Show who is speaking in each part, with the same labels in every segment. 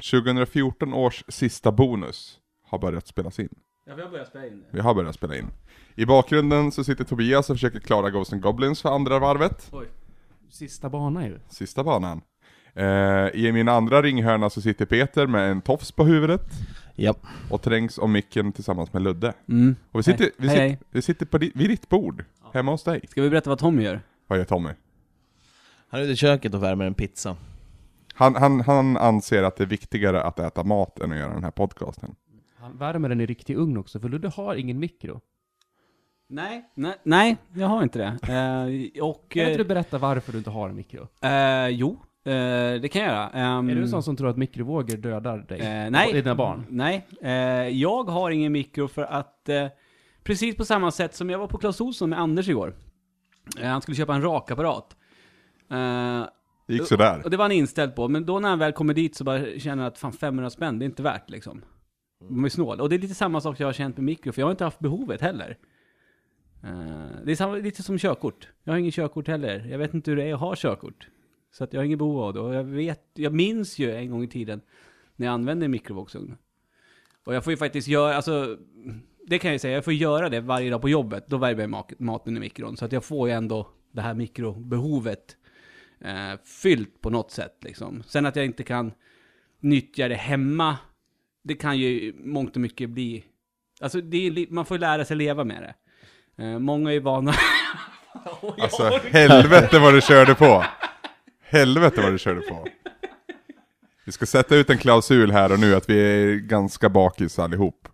Speaker 1: 2014 års sista bonus har börjat spelas in.
Speaker 2: Ja, vi har börjat spela in det.
Speaker 1: Vi har börjat spela in. I bakgrunden så sitter Tobias och försöker klara Ghosts and Goblins för andra varvet.
Speaker 2: Oj.
Speaker 3: Sista bana ju.
Speaker 1: Sista banan. Eh, I min andra ringhörna så sitter Peter med en tofs på huvudet
Speaker 4: Ja.
Speaker 1: och trängs om micken tillsammans med Ludde.
Speaker 4: Mm.
Speaker 1: Och vi sitter,
Speaker 4: Hej.
Speaker 1: vi
Speaker 4: Hej,
Speaker 1: sitter,
Speaker 4: hej.
Speaker 1: Vi sitter på di, vid ditt bord, hemma hos dig.
Speaker 4: Ska vi berätta vad Tommy gör?
Speaker 1: Vad gör Tommy?
Speaker 4: Han är ute i köket och värmer en pizza.
Speaker 1: Han, han, han anser att det är viktigare att äta mat än att göra den här podcasten.
Speaker 3: Han värmer den i riktig ugn också, för Ludde har ingen mikro.
Speaker 2: Nej, nej, nej, jag har inte det. Eh, och...
Speaker 3: Kan inte
Speaker 2: Eh,
Speaker 3: du berätta varför du inte har en mikro?
Speaker 2: eh, jo, eh, det kan jag göra. Ehm,
Speaker 3: Är du en sån som tror att mikrovågor dödar dig?
Speaker 2: Eh, nej.
Speaker 3: Och dina barn?
Speaker 2: Nej, eh, jag har ingen mikro för att eh, precis på samma sätt som jag var på Clas Ohlson med Anders igår. Eh, han skulle köpa en rakapparat. Eh,
Speaker 1: Det gick sådär.
Speaker 2: och det var han inställd på, men då när han väl kommer dit så bara känner jag att fan 500 spänn, det är inte värt liksom. Man är snål. Och det är lite samma sak jag har känt med mikro, för jag har inte haft behovet heller. Eh, det är samma, lite som körkort. Jag har ingen körkort heller. Jag vet inte hur det är att ha körkort. Så att jag har ingen behov av det. Och jag, vet, jag minns ju en gång i tiden när jag använde en mikrovågsugn. Och jag får ju faktiskt göra, alltså, det kan jag ju säga, jag får göra det varje dag på jobbet. Då värmer jag mak- maten i mikron. Så att jag får ju ändå det här mikrobehovet eh, fyllt på något sätt. Liksom. Sen att jag inte kan nyttja det hemma, det kan ju i mångt och mycket bli... Alltså, det är, li- man får ju lära sig leva med det. Eh, många är ju vana... Oj, jag
Speaker 1: Alltså
Speaker 2: orkar
Speaker 1: helvete vad du körde på! Helvete vad du körde på! Vi ska sätta ut en klausul här och nu att vi är ganska bakis allihop.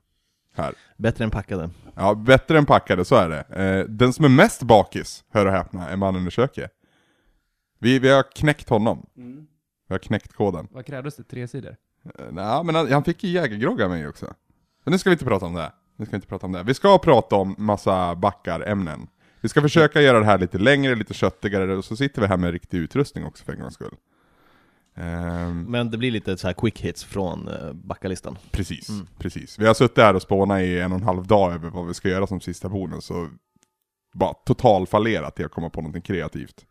Speaker 1: Här.
Speaker 4: Bättre än packade.
Speaker 1: Ja, bättre än packade, så är det. Eh, den som är mest bakis, hör och häpna, är mannen i köket. Vi, vi har knäckt honom. Vi har knäckt koden.
Speaker 3: Vad krävdes det? Tre sidor?
Speaker 1: Eh, nej, men han, han fick ju jägergrogg av mig också. Men nu ska vi inte prata om det. Nu ska vi inte prata om det. Vi ska prata om massa backarämnen. Vi ska försöka
Speaker 4: Mm.
Speaker 1: göra det här lite längre, lite köttigare, och så sitter vi här med riktig utrustning också för en gångs skull. Ehm,
Speaker 4: Men det blir lite så här quick hits från eh, backalistan.
Speaker 1: Precis,
Speaker 4: Mm.
Speaker 1: precis. Vi har suttit här och spånat i en och en halv dag över vad vi ska göra som sista bonus och bara totalfallerat till att komma på någonting kreativt.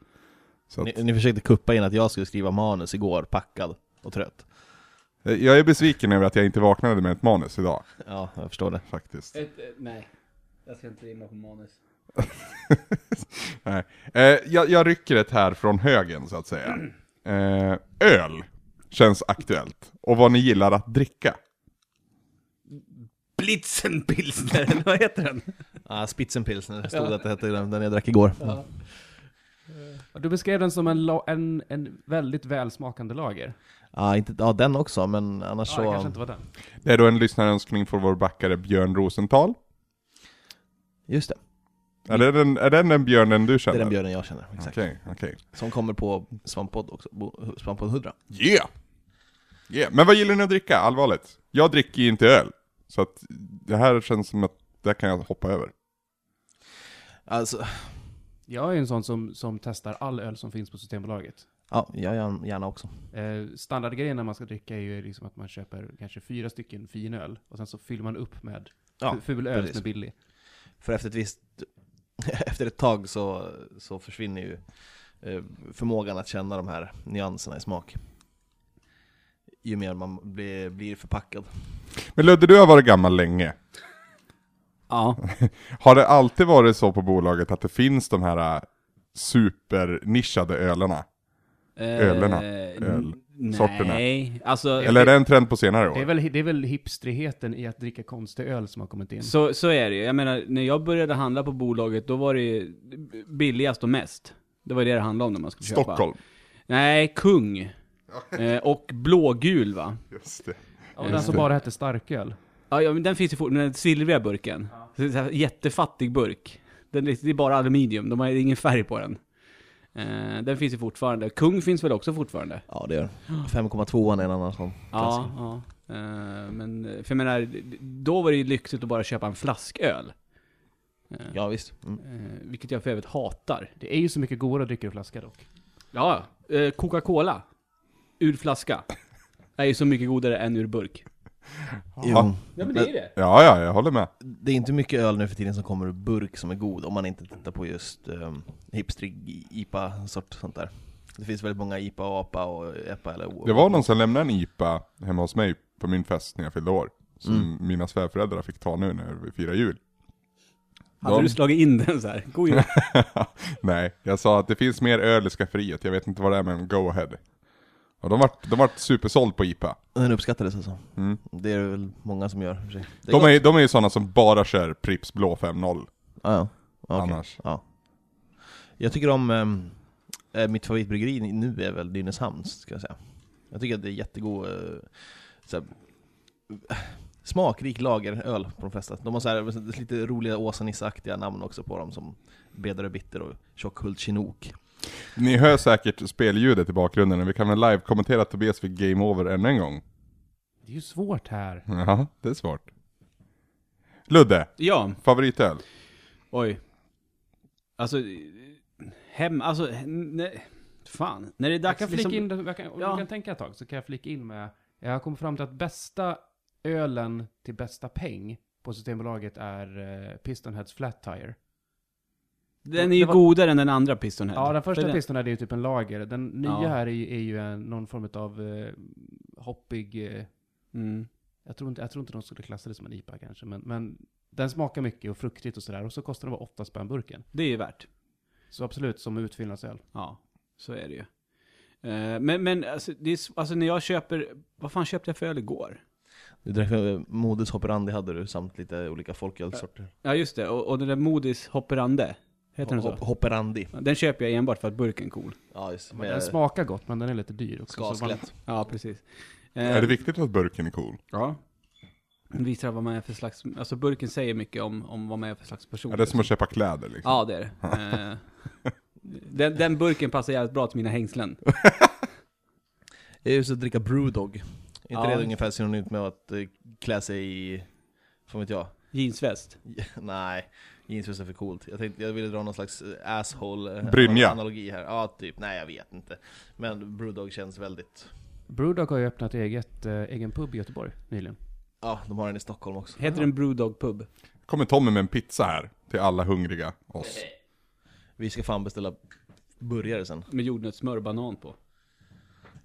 Speaker 1: Så att,
Speaker 4: Ni, ni försökte kuppa in att jag skulle skriva manus igår, packad och trött.
Speaker 1: eh, jag är besviken över att jag inte vaknade med ett manus idag,
Speaker 4: Ja, jag förstår det.
Speaker 1: faktiskt.
Speaker 2: Ett, eh, nej, jag ska inte rimma på manus.
Speaker 1: Nej. Eh, jag, jag rycker ett här från högen, så att säga. Eh, öl känns aktuellt, och vad ni gillar att dricka.
Speaker 2: Blitzenpilsner, eller vad heter den?
Speaker 4: Ah, Spitzenpilsner det stod att det hette den den jag drack igår.
Speaker 3: Du beskrev den som en, la- en, en väldigt välsmakande lager.
Speaker 4: Ah, inte, ja, den också, men annars
Speaker 3: Ja, det kanske
Speaker 4: så...
Speaker 3: inte var den.
Speaker 1: Det är då en lyssnarönskning från vår backare Björn Rosenthal.
Speaker 4: Just det,
Speaker 1: Är, det den, är den den björnen du
Speaker 4: det är
Speaker 1: känner?
Speaker 4: den björnen jag känner. Exakt.
Speaker 1: Okej, okej.
Speaker 4: Som kommer på Svamppodd också, Bo- Svamppodd 100.
Speaker 1: Yeah! Yeah, men vad gillar ni att dricka? Allvarligt. Jag dricker ju inte öl. Så att det här känns som att det här kan jag hoppa över.
Speaker 4: Alltså,
Speaker 3: Jag är ju en sån som, som testar all öl som finns på Systembolaget.
Speaker 4: ja, jag gör gärna också.
Speaker 3: Eh, standardgrejen när man ska dricka är ju liksom att man köper kanske fyra stycken finöl och sen så fyller man upp med
Speaker 4: Ja,
Speaker 3: fu- ful öl
Speaker 4: precis.
Speaker 3: som är billig.
Speaker 4: För efter ett visst... efter ett tag så, så försvinner ju eh, förmågan att känna de här nyanserna i smak. Ju mer man blir, blir förpackad.
Speaker 1: Men Ludde, du har varit gammal länge.
Speaker 2: Ja.
Speaker 1: Har det alltid varit så på bolaget att det finns de här äh, supernischade ölerna? Ölerna. Öl. Sorterna.
Speaker 2: Eh, Nej, alltså...
Speaker 1: Eller är det en trend på senare
Speaker 3: Det är,
Speaker 1: år?
Speaker 3: väl, det är väl hipstrigheten i att dricka konstig öl som har kommit in.
Speaker 2: Så, så är det ju. Jag menar, när jag började handla på bolaget, då var det ju billigast och mest. Det var det det handlade om när man skulle köpa.
Speaker 1: Stockholm.
Speaker 2: Nej, kung. eh, och blågul va?
Speaker 1: Just det.
Speaker 3: Och den som bara hette starköl.
Speaker 2: Ja, ja men den finns ju fortfarande, den silvriga burken. Så det är så här jättefattig burk. Den är, det är bara aluminium, de har ingen färg på den. Eh, den finns ju fortfarande. Kung finns väl också fortfarande?
Speaker 4: Ja, det gör det. 5,2 är en annan sån.
Speaker 2: Ja, ja. Eh, men, för jag menar, då var det ju lyxigt att bara köpa en flasköl. Eh,
Speaker 4: Ja, visst. Mm.
Speaker 2: eh, vilket jag för övrigt hatar.
Speaker 3: Det är ju så mycket godare att dricka ur flaska dock.
Speaker 2: Ja, eh, Coca-Cola. Ur flaska. Är ju så mycket godare än ur burk.
Speaker 1: Ja.
Speaker 4: Jo.
Speaker 2: Ja
Speaker 4: men det är
Speaker 2: det.
Speaker 1: Ja, ja, jag håller med.
Speaker 4: Det är inte mycket öl nu för tiden som kommer ur burk som är god om man inte tittar på just um, hipstrig IPA ehm, sort sånt där. Det finns väldigt många IPA och APA och EPA eller O.
Speaker 1: Det var någon som lämnade en IPA hemma hos mig på min fest när jag fyllde år. Som
Speaker 4: Mm.
Speaker 1: mina svärföräldrar fick ta nu när vi firar jul.
Speaker 2: Hade
Speaker 1: De-
Speaker 2: du slagit in den så här? God jul.
Speaker 1: Nej, jag sa att det finns mer öl i skafferiet, jag vet inte vad det är men go ahead. Och de vart, de vart supersåld på IPA.
Speaker 4: Den uppskattades alltså.
Speaker 1: Mm.
Speaker 4: Det är det väl många som gör. i och för sig. Det
Speaker 1: De, är,
Speaker 4: gott.
Speaker 1: ju- de är ju sådana som bara kör Pripps blå 5-0
Speaker 4: Ah, Ja, ja. Ja, okej.
Speaker 1: annars.
Speaker 4: Jag tycker om, ehm, eh, mitt favoritbryggeri nu är väl Nynäshamns, ska jag säga. Jag tycker att det är jättegod, eh, såhär, smakrik lageröl på de flesta. De har så här, lite roliga Åsa-Nisse-aktiga namn också på dem, som Bedare Bitter och Tjockhult Chinook.
Speaker 1: Ni hör säkert spelljudet i bakgrunden, men vi kan väl live-kommentera Tobias för Game Over ännu en gång.
Speaker 3: Det är ju svårt här.
Speaker 1: Ja, det är svårt. Ludde,
Speaker 2: Ja,
Speaker 1: favoritöl?
Speaker 2: oj. Alltså, hem, alltså, nej. Fan, när det är
Speaker 3: Jag
Speaker 2: dags
Speaker 3: kan
Speaker 2: att
Speaker 3: flika
Speaker 2: liksom...
Speaker 3: in, det- jag kan, om
Speaker 2: Ja.
Speaker 3: du kan tänka ett tag så kan jag flika in med, jag har kommit fram till att bästa ölen till bästa peng på Systembolaget är eh, Pistonheads Flat Tire.
Speaker 2: Den är ju
Speaker 3: Det var-
Speaker 2: godare än den andra Pistonhead.
Speaker 3: Ja, den första
Speaker 2: För
Speaker 3: Pistonhead är ju typ en lager. Den nya
Speaker 2: Ja.
Speaker 3: här är ju, är ju en, någon form av eh, hoppig, eh,
Speaker 2: Mm.
Speaker 3: jag, tror inte, jag tror inte de skulle klassa det som en IPA kanske, men, men den smakar mycket och fruktigt och sådär. Och så kostar den bara 8 spänn burken.
Speaker 2: Det är ju värt.
Speaker 3: Så absolut, som utfyllnadsöl.
Speaker 2: Ja, så är det ju. Eh, Men, men alltså, det är, s- alltså när jag köper, vad fan köpte jag för öl igår?
Speaker 4: Du drack eh, Modus Hopperandi hade du, samt lite olika folkölsorter.
Speaker 2: Ja just det, och, och den där Modis Hopperande, heter den så?
Speaker 4: Hop- Hopperandi.
Speaker 2: Den köper jag enbart för att burken är cool.
Speaker 4: Ja, just
Speaker 3: Men den smakar gott, men den är lite dyr också. så man-
Speaker 4: Skaskelett.
Speaker 2: Ja, precis. Eh,
Speaker 1: Är
Speaker 4: Eh.
Speaker 1: det viktigt att burken är cool?
Speaker 2: Ja. Den visar vad man är för slags, alltså burken säger mycket om, om vad man är för slags person.
Speaker 1: Är det som att köpa kläder liksom?
Speaker 2: Ja, det är det. Eh, den, den burken passar jävligt bra till mina hängslen.
Speaker 4: Det är ju så att dricka Brewdog. Är inte
Speaker 2: Ja.
Speaker 4: det ungefär synonymt med att eh, klä sig i, vad vet jag?
Speaker 2: Jeansväst.
Speaker 4: Nej, jeansväst är för coolt. Jag, tänkte, jag ville dra någon slags eh, asshole eh,
Speaker 1: Brynja.
Speaker 4: analogi här. Ja, typ. Nej, jag vet inte. Men Brewdog känns väldigt...
Speaker 3: Brewdog har ju öppnat eget, eh, egen pub i Göteborg nyligen.
Speaker 4: Ja, de har den i Stockholm också.
Speaker 2: Heter den Brewdog Pub?
Speaker 1: Kommer Tommy med en pizza här, till alla hungriga oss.
Speaker 4: Vi ska fan beställa burgare sen.
Speaker 2: Med jordnötssmör och banan på.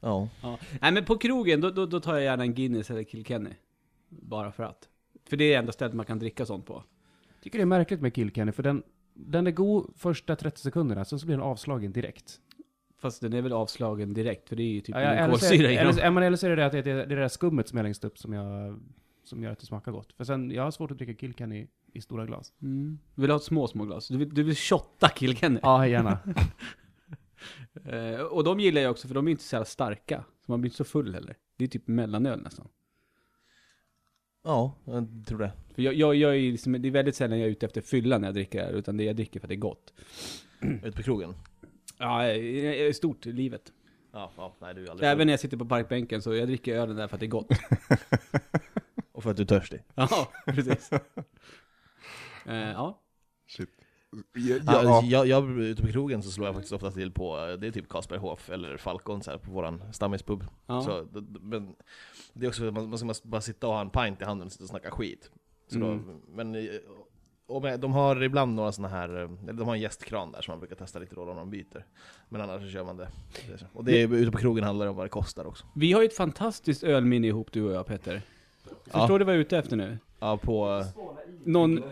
Speaker 4: Ja.
Speaker 2: Ja. Nej men på krogen, då, då, då tar jag gärna en Guinness eller Kilkenny. Bara för att. För det är enda stället man kan dricka sånt på.
Speaker 3: Tycker det är märkligt med Kilkenny, för den, den är god första 30 sekunderna, sen så blir den avslagen direkt. Typ Fast
Speaker 2: Fast den är väl avslagen direkt, för det är ju typ
Speaker 3: Ja, ja,
Speaker 2: ingen
Speaker 3: eller, så
Speaker 2: kolsyra i
Speaker 3: är,
Speaker 2: dem.
Speaker 3: eller, så- ja, men eller så är det det att det, det, det är det där skummet som är längst upp som, jag, som gör att det smakar gott. För sen, jag har svårt att dricka Kilkenny i, i stora glas.
Speaker 2: Mm. Vill du ha små, små glas? Du vill, du vill shotta Kilkenny?
Speaker 3: Ja, gärna.
Speaker 2: Eh, och de gillar jag också, för de är inte så jävla starka. Så man blir inte så full heller. Det är typ mellanöl nästan.
Speaker 4: Ja, jag tror det.
Speaker 2: För jag, jag, jag är ju liksom, det är väldigt sällan jag är ute efter fylla när jag dricker det här, utan det jag dricker för att det är gott.
Speaker 4: Ute på krogen.
Speaker 2: Ja, jag- jag är stort i livet.
Speaker 4: Ja, ja nej du är aldrig
Speaker 2: Även
Speaker 4: full.
Speaker 2: när jag sitter på parkbänken så jag dricker ölen där för att det är gott.
Speaker 4: Och för att du är törstig.
Speaker 2: Ja, precis. Eh, ja.
Speaker 1: Shit. Ja,
Speaker 4: Ja. alltså,
Speaker 1: ja.
Speaker 4: jag, jag, ute på krogen så slår jag faktiskt ofta till på, eh, det är typ Kasperhof eller Falcon så här, på våran stammispub.
Speaker 2: ja.
Speaker 4: Så, d- d- men det är också för att man, man ska bara sitta och ha en pint i handen och sitta och snacka skit. Så då,
Speaker 2: Mm.
Speaker 4: men eh, och med, de har ibland några sådana här, eh, eller de har en gästkran där som man brukar testa lite då om de byter. Men annars så kör man det. det är så. och det är, ute på krogen handlar det om vad det kostar också.
Speaker 2: Vi har ju ett fantastiskt ölminne ihop du och jag Peter.
Speaker 4: Ja.
Speaker 2: Förstår du vad jag är ute efter nu?
Speaker 4: Ja, på, eh,
Speaker 2: Någon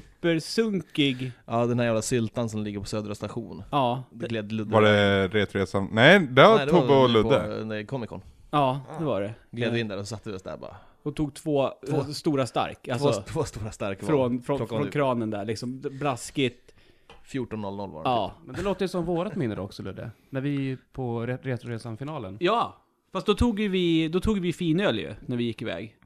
Speaker 2: supersunkig,
Speaker 4: ja den här jävla syltan som ligger på Södra station.
Speaker 2: ja,
Speaker 4: Det
Speaker 2: det,
Speaker 4: gled Ludde.
Speaker 1: Var det Retresan? Nej, det var
Speaker 4: Nej, det var
Speaker 1: Tobbe och
Speaker 4: på,
Speaker 1: Ludde.
Speaker 4: eh, nej, Comic Con.
Speaker 2: ja, det var det.
Speaker 4: Gled vi in där och satte vi oss där bara.
Speaker 2: Och tog två, eh,
Speaker 4: Två-
Speaker 2: stora stark,
Speaker 4: två,
Speaker 2: alltså
Speaker 4: två stora starka var det.
Speaker 2: från, från,
Speaker 4: Klockan
Speaker 2: från
Speaker 4: typ
Speaker 2: kranen där liksom, braskigt.
Speaker 4: 14.00 var det.
Speaker 2: Ja.
Speaker 3: men det låter ju som vårat minne då också Ludde. När vi på Re- Retroresan-finalen.
Speaker 2: ja, fast då tog ju vi, då tog vi finöl ju, när vi gick iväg.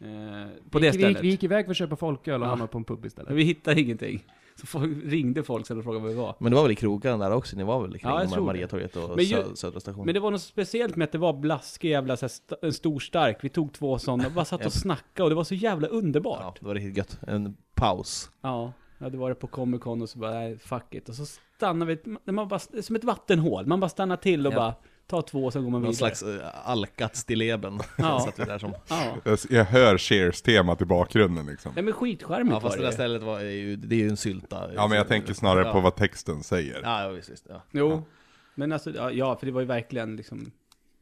Speaker 2: Eh, på det
Speaker 3: vi, gick- vi, gick-
Speaker 2: stället.
Speaker 3: vi gick iväg för att köpa folköl och
Speaker 2: Ja.
Speaker 3: hamnade på en pub istället.
Speaker 2: Men vi hittade ingenting. Så folk, ringde folk sen och frågade vad vi var.
Speaker 4: Men det var väl i krogarna där också? Ni var väl i
Speaker 2: Ja, jag
Speaker 4: krogarna med
Speaker 2: tror det.
Speaker 4: Mariatorget och
Speaker 2: Men ju-
Speaker 4: Sö- Södra station?
Speaker 2: Men det var något speciellt med att det var blaskig jävla så här, st- en stor stark. Vi tog två sådana och bara satt
Speaker 4: Ja.
Speaker 2: och snackade och det var så jävla
Speaker 4: ja,
Speaker 2: underbart.
Speaker 4: det var riktigt gött. En paus.
Speaker 2: Ja, jag hade varit på Comic Con och så bara, nej, fuck it. Och så stannar vi, när man bara, som ett vattenhål. Man bara stannar till och
Speaker 4: Ja.
Speaker 2: bara tar två och sen går man
Speaker 4: Någon
Speaker 2: vidare.
Speaker 4: slags eh, alkat stilleben.
Speaker 2: Ja.
Speaker 4: satt vi där som.
Speaker 2: Ja.
Speaker 1: Jag, jag hör Cheers-temat i bakgrunden liksom.
Speaker 2: Nej men skitcharmigt
Speaker 4: Ja, fast det
Speaker 2: var
Speaker 4: där
Speaker 2: det ju.
Speaker 4: stället var är ju, det är ju en sylta.
Speaker 1: Ja men jag tänker snarare
Speaker 4: Ja.
Speaker 1: på vad texten säger.
Speaker 4: Ja, ja visst, visst. Ja.
Speaker 2: Jo, Men alltså, ja, ja, för det var ju verkligen liksom...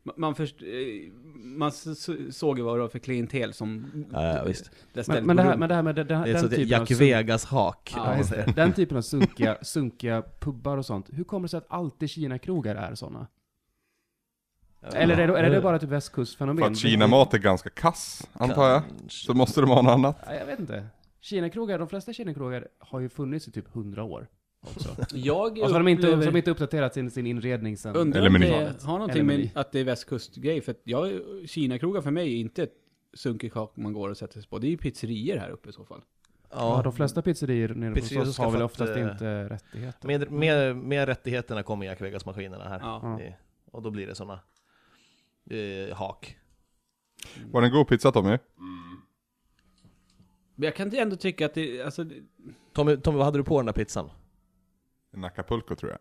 Speaker 2: ma- Man, först, eh, man s- s- såg ju vad det var för klientel som...
Speaker 4: Ja, ja, visst.
Speaker 2: Där stället
Speaker 3: Men, men, det
Speaker 2: på
Speaker 3: här,
Speaker 2: runt.
Speaker 3: men det här med den, den,
Speaker 4: Det är så
Speaker 3: den
Speaker 4: det är
Speaker 3: typen av...
Speaker 4: Jack
Speaker 3: sunk-
Speaker 4: Vegas-hak.
Speaker 2: Ja,
Speaker 4: Ja, ja,
Speaker 3: Den typen av sunkiga, sunkiga pubbar och sånt. Hur kommer det sig att alltid Kina-krogar är sådana? Eller är det, är det bara typ västkustfenomen?
Speaker 1: För att Kina-mat är ganska kass, antar jag. Så måste de ha något annat.
Speaker 3: Ja, jag vet inte. Kina-krogar, de flesta Kina-krogar har ju funnits i typ 100 år också.
Speaker 2: Jag
Speaker 3: Och så har de inte, så har
Speaker 2: upplever-
Speaker 3: de inte uppdaterat sin, sin inredning sen.
Speaker 2: Undrar
Speaker 1: Eller
Speaker 2: om
Speaker 1: meny.
Speaker 2: det har någonting
Speaker 3: Eller
Speaker 2: med
Speaker 3: meny.
Speaker 2: att det är västkustgrej, för att jag, Kina-krogar för mig är inte ett sunkig kak man går och sätter sig på. Det är ju pizzerier här uppe i så fall.
Speaker 3: Ja,
Speaker 4: ja.
Speaker 3: de flesta pizzerior nere
Speaker 4: Pizzerior
Speaker 3: hos oss
Speaker 4: som
Speaker 3: har väl
Speaker 4: skaffat,
Speaker 3: oftast
Speaker 4: eh,
Speaker 3: inte rättigheter.
Speaker 4: Med, med, med rättigheterna kommer Jack Vegas-maskinerna här.
Speaker 2: Ja.
Speaker 3: Ja.
Speaker 4: Det, och då blir det såna eh, hak.
Speaker 1: Var det en god pizza Tommy?
Speaker 2: Men jag kan ändå tycka att det, alltså, det-
Speaker 4: Tommy, Tommy, vad hade du på den där pizzan?
Speaker 1: En Acapulco tror jag.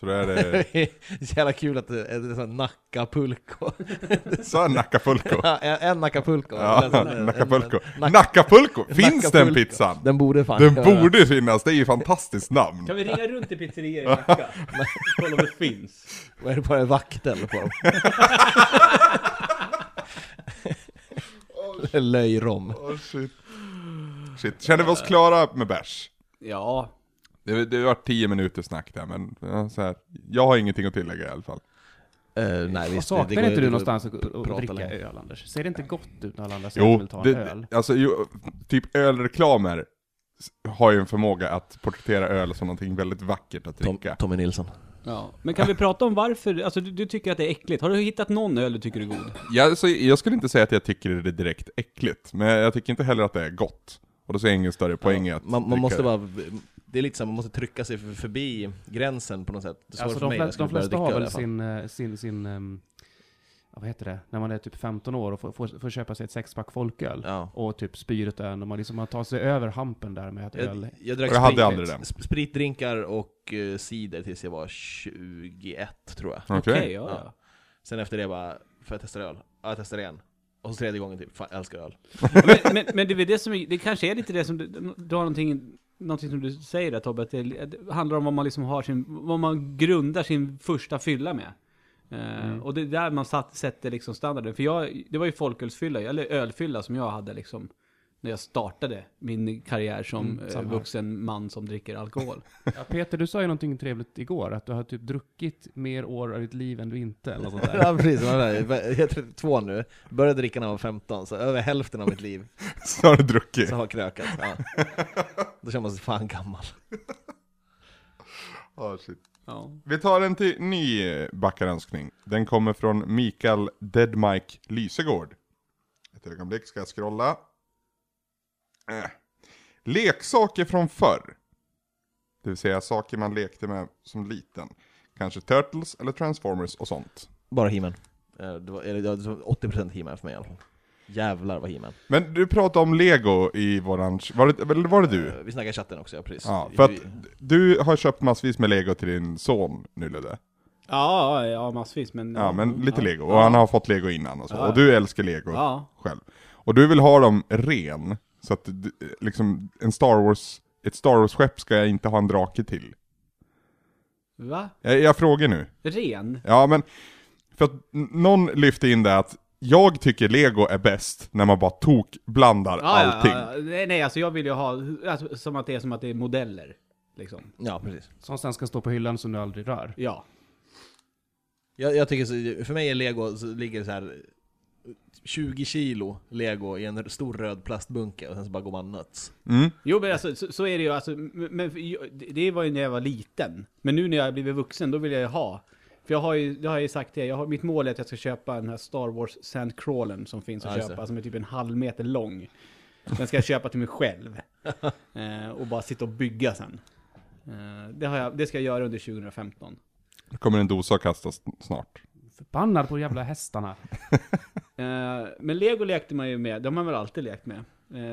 Speaker 1: Så då är det...
Speaker 4: Så jävla kul att eh, det är en sån nackapulko.
Speaker 1: Sa jag Nackapulco?
Speaker 4: en, en nackapulko.
Speaker 1: Ja,
Speaker 4: Eller en- en-
Speaker 1: Nackapulco.
Speaker 4: en- nack-
Speaker 1: Nackapulco! Finns den
Speaker 4: Nackapulco.
Speaker 1: pizzan?
Speaker 4: Den borde fan
Speaker 1: Den
Speaker 4: göra det.
Speaker 1: borde finnas, det är ju fantastiskt namn.
Speaker 2: kan vi ringa runt till pizzerier i Nacka? Kolla om det finns.
Speaker 4: Vad är det på en vaktel på dem? Löjrom. Eh,
Speaker 1: Åh, shit. shit. Känner vi oss klara med bärs?
Speaker 2: Ja,
Speaker 1: Det, det har varit 10 minuter snack där, men ja, så här, jag har ingenting att tillägga i alla fall.
Speaker 4: Uh, nej
Speaker 3: Vad
Speaker 4: visst, det- det
Speaker 3: saknar
Speaker 4: går-
Speaker 3: inte
Speaker 4: det
Speaker 3: du
Speaker 4: går-
Speaker 3: någonstans att, att
Speaker 4: prata
Speaker 3: dricka
Speaker 4: länge.
Speaker 3: öl, Anders? Ser det inte gott ut när alla andra säger att de
Speaker 1: Jo,
Speaker 3: vill ta en
Speaker 1: det,
Speaker 3: öl?
Speaker 1: alltså ju, typ ölreklamer s- har ju en förmåga att porträttera öl som någonting väldigt vackert att
Speaker 4: Tom,
Speaker 1: dricka.
Speaker 4: Tommy Nilsson.
Speaker 2: Ja, men kan vi prata om varför, alltså du, du tycker att det är äckligt. Har du hittat någon öl du tycker är god?
Speaker 1: Jag, alltså, jag skulle inte säga att jag tycker det är direkt äckligt, men jag tycker inte heller att det är gott. Och då ser jag ingen större poäng i att
Speaker 4: Man, man
Speaker 1: dricka
Speaker 4: måste
Speaker 1: det.
Speaker 4: bara, det är lite så här, man måste trycka sig för- förbi gränsen på något sätt. Det är svårt
Speaker 3: Alltså
Speaker 4: för
Speaker 3: de,
Speaker 4: mig,
Speaker 3: flest-
Speaker 4: jag skulle
Speaker 3: de
Speaker 4: börja
Speaker 3: flesta
Speaker 4: dricka
Speaker 3: har väl
Speaker 4: öl i alla fall.
Speaker 3: sin, eh, sin, sin ehm, ja, vad heter det, när man är typ 15 år och får, får, får köpa sig ett sexpack folköl.
Speaker 4: Ja.
Speaker 3: Och typ spyr ut ölen och man liksom har tagit sig över hampen där med ett öl.
Speaker 4: Jag, jag drack
Speaker 1: Och jag hade
Speaker 4: sprit-
Speaker 1: aldrig den.
Speaker 4: sp- spritdrinkar och eh, cider tills jag var 21 tror jag.
Speaker 1: Okej.
Speaker 2: ja, ja.
Speaker 4: Sen efter det bara, får jag testa öl? Ja, jag testar igen. Och så tredje gången typ, fan jag älskar öl.
Speaker 2: Men, men, men det, är väl det, som, är- det kanske är lite det som, du, du har någonting, någonting som du säger där Tobbe, att det, att det handlar om vad man liksom har sin, vad man grundar sin första fylla med. Eh, Och det är där man satt, sätter liksom standarden. För jag, det var ju folkölsfylla, eller ölfylla som jag hade liksom, när jag startade min karriär som
Speaker 3: Mm,
Speaker 2: eh,
Speaker 3: samma här.
Speaker 2: vuxen man som dricker alkohol.
Speaker 3: Ja, Peter, du sa ju någonting trevligt igår, att du har typ druckit mer år av ditt liv än du inte, eller något sånt där.
Speaker 4: ja precis, jag är 32 nu, började dricka när jag var 15, så över hälften av mitt liv
Speaker 1: Så har du druckit.
Speaker 4: så har jag krökat. Ja. Då känner man sig fan gammal.
Speaker 1: Ja, shit.
Speaker 2: Ja.
Speaker 1: Vi tar en till ny eh, backarönskning. Den kommer från Mikael Dead Mike Lysegård. Ett ögonblick ska jag scrolla. Eh. Leksaker från förr. Det vill säga saker man lekte med som liten. Kanske Turtles eller Transformers och sånt.
Speaker 4: Bara He-Man. Eh, Det var, eller det var 80% He-Man för mig i alla fall. Jävlar vad He-Man.
Speaker 1: Men du pratade om Lego i våran... Var det, eller var det du?
Speaker 4: Eh, Vi snackar i chatten också, ja precis.
Speaker 1: Ja, för att du har köpt massvis med Lego till din son nu Ludde.
Speaker 2: Ja, ja, massvis, men...
Speaker 1: Ja, men lite
Speaker 2: ja.
Speaker 1: Lego. Och han har fått Lego innan och så.
Speaker 2: Ja.
Speaker 1: Och du älskar Lego.
Speaker 2: Ja,
Speaker 1: själv. Och du vill ha dem ren, så att du- liksom en Star Wars, ett Star Wars-skepp ska jag inte ha en drake till.
Speaker 2: va?
Speaker 1: Jag, jag frågar nu.
Speaker 2: Ren?
Speaker 1: Ja men, för att n- någon lyfte in det att jag tycker lego är bäst när man bara tok-blandar allting.
Speaker 2: Ja, ja. Nej, nej, alltså jag vill ju ha, alltså, som att det är som att det är modeller. Liksom.
Speaker 4: Ja, precis.
Speaker 3: Som sen ska stå på hyllan som du aldrig rör.
Speaker 2: Ja.
Speaker 4: Jag, jag tycker så, för mig är lego, så ligger det så här 20 kilo lego i en stor röd plastbunke och sen så bara går man nuts.
Speaker 1: Mm.
Speaker 2: Jo, men alltså, så, så är det ju. Alltså, m- men, för jag- det var ju när jag var liten. Men nu när jag har blivit vuxen, då vill jag ju ha. För jag har ju, det har jag ju sagt till er, jag har, mitt mål är att jag ska köpa den här Star Wars Sandcrawlen som finns att
Speaker 4: Ja, just
Speaker 2: köpa,
Speaker 4: det.
Speaker 2: som är typ en halv meter lång. Den ska jag köpa till mig själv. Eh, och bara sitta och bygga sen. Eh, det, har jag, det ska jag göra under 2015.
Speaker 1: Då kommer en dosa att kastas snart.
Speaker 3: Förbannad på de jävla hästarna.
Speaker 2: Eh, men Lego lekte man ju med, de har man väl alltid lekt med.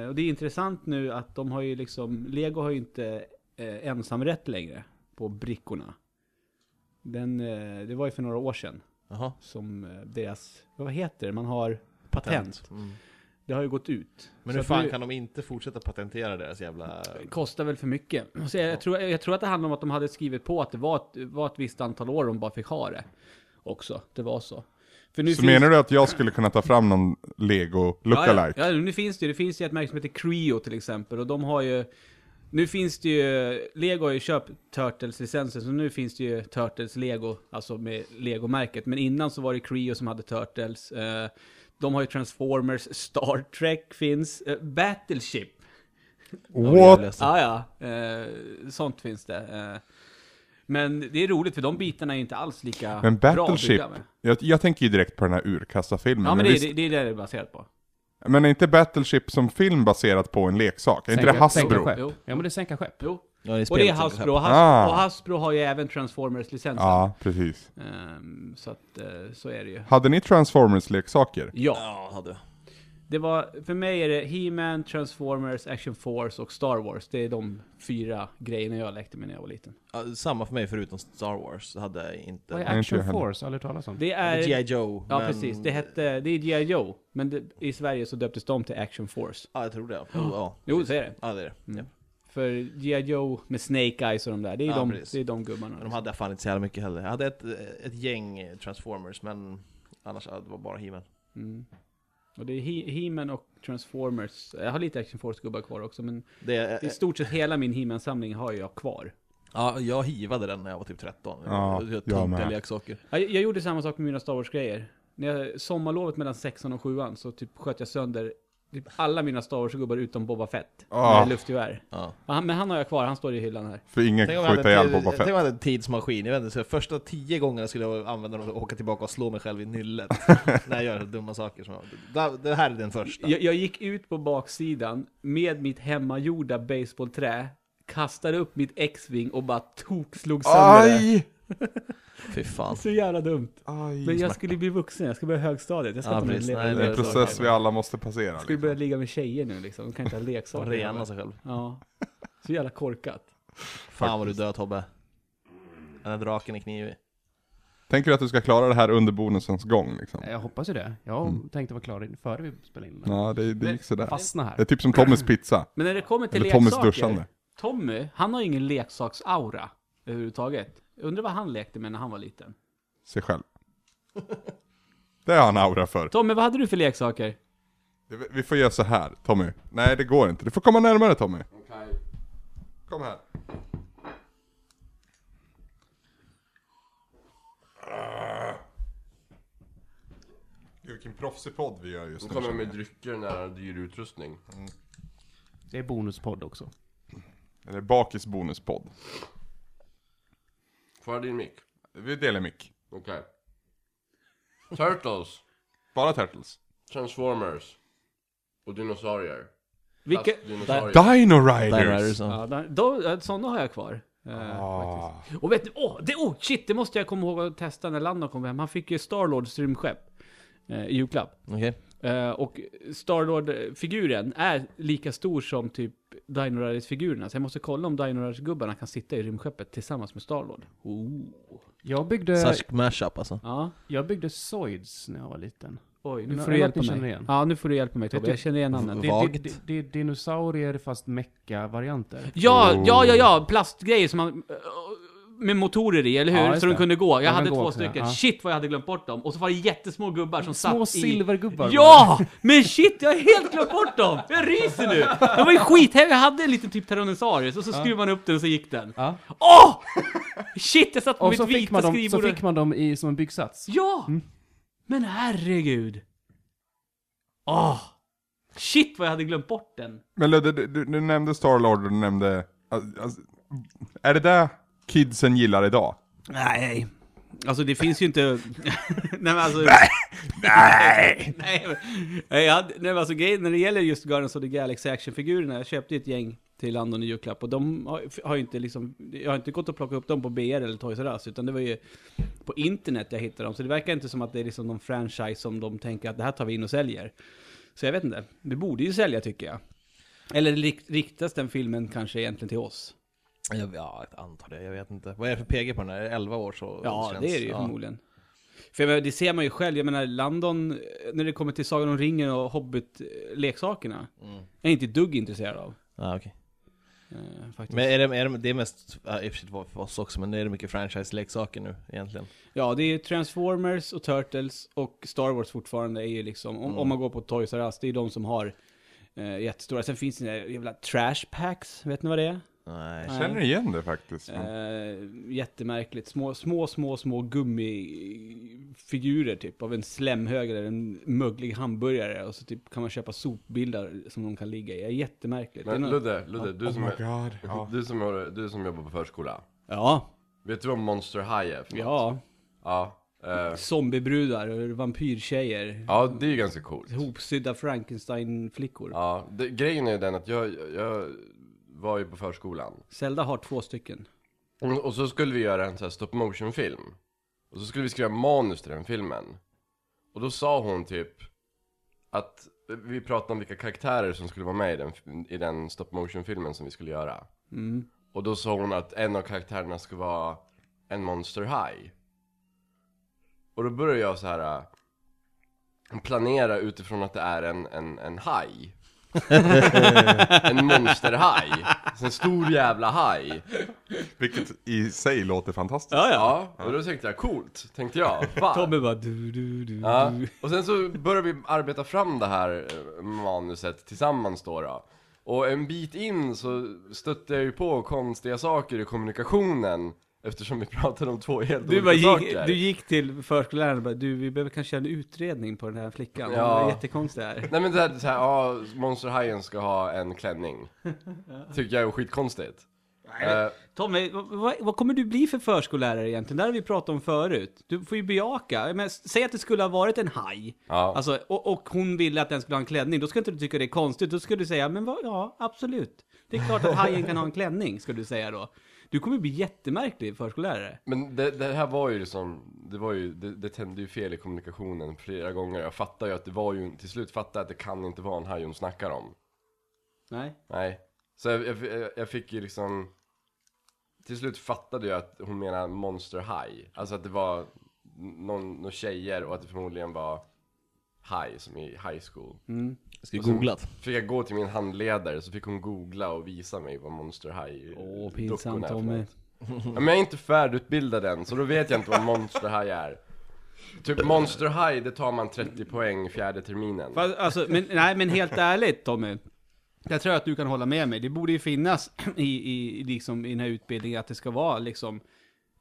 Speaker 2: Eh, och det är intressant nu att de har ju liksom, Lego har ju inte eh, ensamrätt längre på brickorna. Den, eh, det var ju för några år sedan
Speaker 4: Jaha.
Speaker 2: som eh, deras, vad heter det, man har patent.
Speaker 4: Mm.
Speaker 2: Det har ju gått ut.
Speaker 4: Men
Speaker 2: Så
Speaker 4: hur
Speaker 2: att
Speaker 4: fan
Speaker 2: nu-
Speaker 4: kan de inte fortsätta patentera deras jävla...
Speaker 2: Kostar väl för mycket. Så jag, jag, tror, jag tror att det handlar om att de hade skrivit på att det var ett, var ett visst antal år de bara fick ha det. Också, det var så. För nu
Speaker 1: Så menar du att jag skulle kunna ta fram någon Lego lookalike?
Speaker 2: Ja, ja, ja, nu finns det ju. Det finns ju ett märke som heter Creo till exempel. Och de har ju... Nu finns det ju... Lego har ju köpt Turtles-licensen, så nu finns det ju Turtles Lego, alltså med Lego-märket. Men innan så var det Creo som hade Turtles. Eh, De har ju Transformers, Star Trek finns, eh, Battleship.
Speaker 1: What?
Speaker 2: Ja, ja. Eh, sånt finns det. Eh, men det är roligt för de bitarna är inte alls lika
Speaker 1: Men
Speaker 2: bra att
Speaker 1: Battleship,
Speaker 2: bygga med.
Speaker 1: jag, jag tänker ju direkt på den här urkassafilmen.
Speaker 2: Ja, men det,
Speaker 1: men,
Speaker 2: är-
Speaker 1: visst,
Speaker 2: det, det är det det är baserat på.
Speaker 1: men är inte Battleship som film baserat på en leksak? Är inte det
Speaker 3: Sänka
Speaker 1: Hasbro?
Speaker 3: skepp.
Speaker 2: Jo.
Speaker 3: Ja men det är sänka skepp.
Speaker 2: Jo.
Speaker 4: Ja, det
Speaker 2: Och det är
Speaker 4: spelet som-
Speaker 2: Hasbro. Och Hasbro,
Speaker 1: Ah.
Speaker 2: och Hasbro har ju även Transformers-licensen.
Speaker 1: Ja, precis.
Speaker 2: Ehm, så att, eh, så är det ju.
Speaker 1: Hade ni Transformers-leksaker?
Speaker 2: Ja,
Speaker 4: Ja, hade.
Speaker 2: det var, för mig är det He-Man, Transformers, Action Force och Star Wars. Det är de fyra grejerna jag lekte med när jag var liten.
Speaker 4: Ja, samma för mig förutom Star Wars, så hade jag inte...
Speaker 3: Vad
Speaker 4: Vad
Speaker 3: är
Speaker 1: Nej, inte jag
Speaker 3: Action
Speaker 1: heller.
Speaker 3: Force? Aldrig talas om.
Speaker 2: Det är...
Speaker 4: G.I. Joe.
Speaker 2: Ja,
Speaker 4: men-
Speaker 2: precis. Det hette... Det är G.I. Joe. Men det, i Sverige så döptes de till Action Force.
Speaker 4: Ja, jag tror det. Jo, ja.
Speaker 2: Jo, så är det.
Speaker 4: Ja, det är det. Ja.
Speaker 2: För G.I. Joe med Snake Eyes och de där, det är,
Speaker 4: Ja,
Speaker 2: de,
Speaker 4: precis.
Speaker 2: det är de gubbarna.
Speaker 4: Men de hade jag fan inte så jävla mycket heller. Jag hade ett, ett gäng Transformers, men annars ja, det var bara He-Man.
Speaker 2: mm. Och det är He- He-Man och Transformers. Jag har lite Action Force-gubbar kvar också, men
Speaker 4: Det, är-
Speaker 2: i stort sett hela min He-Man-samling har jag kvar.
Speaker 4: ja, jag hivade den när jag var typ 13.
Speaker 1: Ja,
Speaker 4: jag
Speaker 1: jag med.
Speaker 4: jag leksaker.
Speaker 2: Jag, jag gjorde samma sak med mina Star Wars-grejer. När jag, sommarlovet mellan sexan och sjuan så typ sköt jag sönder typ alla mina Star Wars-gubbar utom Boba Fett.
Speaker 1: Ah.
Speaker 2: Med luftgevär.
Speaker 4: Ja.
Speaker 2: Ja, han- Men han har jag kvar, han står i hyllan här.
Speaker 1: För ingen
Speaker 4: Tänk
Speaker 1: kan
Speaker 4: om jag
Speaker 1: skjuta
Speaker 4: hade en
Speaker 1: ihjäl
Speaker 4: tid-
Speaker 1: Boba
Speaker 4: tänk om
Speaker 1: Fett.
Speaker 4: jag hade en tidsmaskin, jag vet inte, så första tio gångerna skulle jag använda den och åka tillbaka och slå mig själv i nyllet. när jag gör dumma saker som jag... Det- Det här är den första.
Speaker 2: Jag, jag gick ut på baksidan med mitt hemmagjorda baseballträ kastade upp mitt X-Wing och bara tokslog sönder det.
Speaker 1: Aj!
Speaker 4: Fy fan.
Speaker 2: Så jävla dumt. Men
Speaker 1: Aj!
Speaker 2: jag skulle bli vuxen, jag ska börja högstadiet. Jag ska
Speaker 4: Ja,
Speaker 2: inte
Speaker 4: precis.
Speaker 2: leva
Speaker 4: Nej,
Speaker 1: Det är en
Speaker 4: så-
Speaker 1: process vi alla måste passera.
Speaker 2: Jag skulle
Speaker 1: Liksom.
Speaker 2: börja ligga med tjejer nu liksom, de kan inte ha
Speaker 4: Och
Speaker 2: leksaker.
Speaker 4: rena sig själv.
Speaker 2: Ja. Så jävla korkat.
Speaker 4: Fan vad du är död Tobbe. Den här draken är knivig.
Speaker 1: Tänker du att du ska klara det här under bonusens gång? Liksom?
Speaker 3: Jag hoppas ju det. Jag tänkte vara klar in- före vi spelade in.
Speaker 1: Ja, det, det gick sådär.
Speaker 3: Fastna
Speaker 1: Det är
Speaker 3: här.
Speaker 1: typ som Tommys pizza.
Speaker 2: Men när det kommer till
Speaker 1: Eller Tommys
Speaker 2: leksaker,
Speaker 1: duschande.
Speaker 2: Tommy, han har ingen leksaksaura överhuvudtaget. Jag undrar vad han lekte med när han var liten.
Speaker 1: Sig själv. Det har han aura för.
Speaker 2: Tommy, vad hade du för leksaker?
Speaker 1: Vi får göra så här, Tommy. Nej, det går inte. Du får komma närmare Tommy. Kom här. Ah. Gud, vilken proffsig podd vi gör just
Speaker 5: Nu
Speaker 1: nu.
Speaker 5: kommer jag med
Speaker 1: känner
Speaker 5: drycker nära dyr utrustning.
Speaker 3: Det är bonuspodd också.
Speaker 1: jag. Eller Bakis bonuspodd.
Speaker 5: Får jag din mick?
Speaker 1: Vi delar mick.
Speaker 5: Okej. Turtles,
Speaker 1: Bara Turtles.
Speaker 5: Transformers och dinosaurier.
Speaker 2: Vilka?
Speaker 5: Fast dinosaurier.
Speaker 1: Dino
Speaker 4: Där är
Speaker 1: Riders!
Speaker 4: du så.
Speaker 2: Ja, där- då, eh, sådana har jag kvar. Eh,
Speaker 1: Ah.
Speaker 2: Och vet ni, åh, det, oh, shit, det måste jag komma ihåg att testa när Lando kom hem. Han fick ju Starlords rymdskepp eh, i julklapp.
Speaker 4: Okej.
Speaker 2: Eh, och Starlord-figuren är lika stor som typ Dino Riders-figurerna. Så jag måste kolla om Dino Riders-gubbarna kan sitta i rymdskeppet tillsammans med Starlord. Oh.
Speaker 3: Jag byggde,
Speaker 4: Särsk mashup alltså.
Speaker 2: Ja.
Speaker 3: jag byggde Zoids när jag var liten.
Speaker 2: Oj, nu
Speaker 3: Men
Speaker 2: får du
Speaker 3: jag
Speaker 2: hjälpa
Speaker 3: inte känner
Speaker 2: mig.
Speaker 3: igen.
Speaker 2: Ja, nu får du hjälpa mig Tobbe.
Speaker 3: Vet du-
Speaker 2: Jag känner igen namnet.
Speaker 4: V-
Speaker 3: Det,
Speaker 4: Vagt.
Speaker 3: det, det, det är dinosaurier fast mecka-varianter.
Speaker 2: Ja,
Speaker 1: Oh.
Speaker 2: ja, ja, ja! Plastgrejer som man... Med motorer i, eller hur?
Speaker 3: Ja, just
Speaker 2: så de
Speaker 3: det.
Speaker 2: kunde gå.
Speaker 3: De
Speaker 2: Jag
Speaker 3: kan
Speaker 2: hade
Speaker 3: gå
Speaker 2: två
Speaker 3: också,
Speaker 2: stycken.
Speaker 3: ja.
Speaker 2: Shit vad jag hade glömt bort dem. Och så var det jättesmå gubbar som
Speaker 3: Små
Speaker 2: satt i...
Speaker 3: silvergubbar.
Speaker 2: Ja! Men shit, jag har helt glömt bort dem! Jag ryser nu! De var ju skithäftiga. Jag hade en liten typ Tyrannosaurus och så skruvade man upp den och så gick den.
Speaker 3: Ja.
Speaker 2: Åh! Shit, jag satt på
Speaker 3: Och
Speaker 2: mitt
Speaker 3: så fick,
Speaker 2: vita
Speaker 3: man dem, så
Speaker 2: skrivbord. och-
Speaker 3: fick man dem i, som en byggsats.
Speaker 2: Ja! Men herregud! Åh! Shit vad jag hade glömt bort den.
Speaker 1: Men Ludde, du, du, du nämnde Starlord och du nämnde... Alltså, är det där kidsen gillar idag?
Speaker 2: Nej. Alltså det finns ju inte... nej men alltså... Nej! nej, men- nej, jag hade, nej men alltså grejen när det gäller just Guardians of the Galaxy actionfigurerna, jag köpte ju ett gäng till London i julklapp och de har, har ju inte liksom, jag har inte gått och plockat upp dem på BR eller Toys R Us utan det var ju på internet jag hittade dem så det verkar inte som att det är liksom någon franchise som de tänker att det här tar vi in och säljer. Så jag vet inte, det borde ju sälja tycker jag. Eller rikt, riktas den filmen kanske egentligen till oss?
Speaker 4: Jag- Ja, jag antar det. Jag vet inte. Vad är det för PG på den här? Är det 11 år så
Speaker 2: Ja,
Speaker 4: känns-
Speaker 2: det är det ju
Speaker 4: ja.
Speaker 2: förmodligen. För jag menar, det ser man ju själv, jag menar Landon, eh, när det kommer till Sagan om ringen och Hobbit-leksakerna,
Speaker 4: Mm.
Speaker 2: är jag inte ett dugg intresserad av.
Speaker 4: Ah, okay.
Speaker 2: Eh, faktiskt.
Speaker 4: Men är det, är det, det är mest, ja, i och för sig det var för oss också, men det är det mycket franchise-leksaker nu egentligen?
Speaker 2: Ja, det är Transformers och Turtles och Star Wars fortfarande är ju liksom, om,
Speaker 4: Mm.
Speaker 2: om man går på Toys R Us, det är de som har eh, jättestora. Sen finns det några jävla trash packs, vet ni vad det är?
Speaker 4: Nej.
Speaker 1: Jag känner igen det faktiskt. men-
Speaker 2: Eh, jättemärkligt. Små, små, små, små gummifigurer typ av en slemhög eller en möglig hamburgare. Och så typ kan man köpa sopbilar som de kan ligga i. Ja, Jättemärkligt. Det är
Speaker 5: Men
Speaker 2: nå-
Speaker 5: Ludde, Ludde, du,
Speaker 1: Oh
Speaker 5: som
Speaker 1: my
Speaker 5: är,
Speaker 1: god. Ja.
Speaker 5: du, som, har- du som jobbar på förskola.
Speaker 2: Ja,
Speaker 5: Vet du vad Monster High är för något?
Speaker 2: ja.
Speaker 5: Ja, eh,
Speaker 2: Zombiebrudar, och vampyrtjejer.
Speaker 5: ja, det är ju ganska coolt.
Speaker 2: Hopsydda Frankenstein-flickor.
Speaker 5: Ja, det, grejen är ju den att jag, jag var ju på förskolan.
Speaker 2: Zelda har två stycken.
Speaker 5: Och och så skulle vi göra en sån här stop motion film. Och så skulle vi skriva manus till den filmen. Och då sa hon typ att vi pratade om vilka karaktärer som skulle vara med i den, i den stop motion filmen som vi skulle göra.
Speaker 2: Mm.
Speaker 5: Och då sa hon att en av karaktärerna ska vara en monster high. Och då började jag så här äh, planera utifrån att det är en, en, en haj. en monsterhaj. Så En stor jävla haj.
Speaker 1: Vilket i sig låter fantastiskt.
Speaker 5: Ja, och då tänkte jag coolt, tänkte jag. Fan.
Speaker 2: Tommy bara du, du, du,
Speaker 5: Ja.
Speaker 2: du.
Speaker 5: Och sen så börjar vi arbeta fram det här eh, manuset tillsammans då, då. Och en bit in så stötte jag ju på konstiga saker i kommunikationen eftersom vi pratade om två helt
Speaker 2: Du,
Speaker 5: olika
Speaker 2: bara gick,
Speaker 5: saker.
Speaker 2: du gick till förskolläraren och bara, du vi behöver kanske göra en utredning på den här flickan.
Speaker 5: Ja.
Speaker 2: Det är jättekonstigt det här.
Speaker 5: Nej men det här, så här ja, monsterhajen ska ha en klänning. Tycker jag är skitkonstigt. Eh,
Speaker 2: Tommy, vad- vad, vad kommer du bli för förskollärare egentligen? Det här har vi pratat om förut. Du får ju bejaka. Jag menar, s- säg att det skulle ha varit en haj.
Speaker 5: ja.
Speaker 2: Alltså, och, och hon ville att den skulle ha en klänning. Då ska inte du tycka det är konstigt. Då ska du säga, men vad, ja, absolut. Det är klart att hajen kan ha en klänning, ska du säga då. Du kommer bli jättemärklig förskollärare.
Speaker 5: Men det, det här var ju liksom, det var ju, det, det tände ju fel i kommunikationen flera gånger. Jag fattar ju att det var ju, till slut fattar jag att det kan inte vara en haj hon snackar om.
Speaker 2: Nej.
Speaker 5: Nej. Så jag, jag, jag- jag fick ju liksom... Till slut fattade jag att hon menar Monster High. Alltså att det var någon, någon tjejer och att det förmodligen var High, som i high school.
Speaker 2: Mm.
Speaker 4: Ska vi
Speaker 5: Och sen-
Speaker 4: googla?
Speaker 5: Fick jag gå till min handledare så fick hon googla och visa mig vad Monster High
Speaker 2: Åh,
Speaker 5: dockorna
Speaker 2: pinsamt
Speaker 5: är för
Speaker 2: Tommy.
Speaker 5: något. Ja, men jag är inte färdigutbildad än, så då vet jag inte vad Monster High är. Typ Monster High, det tar man 30 poäng fjärde terminen.
Speaker 2: Fast, alltså, men, nej, men helt ärligt Tommy. Jag tror att du kan hålla med mig. Det borde ju finnas i, i, liksom, i den här utbildningen att det ska vara liksom,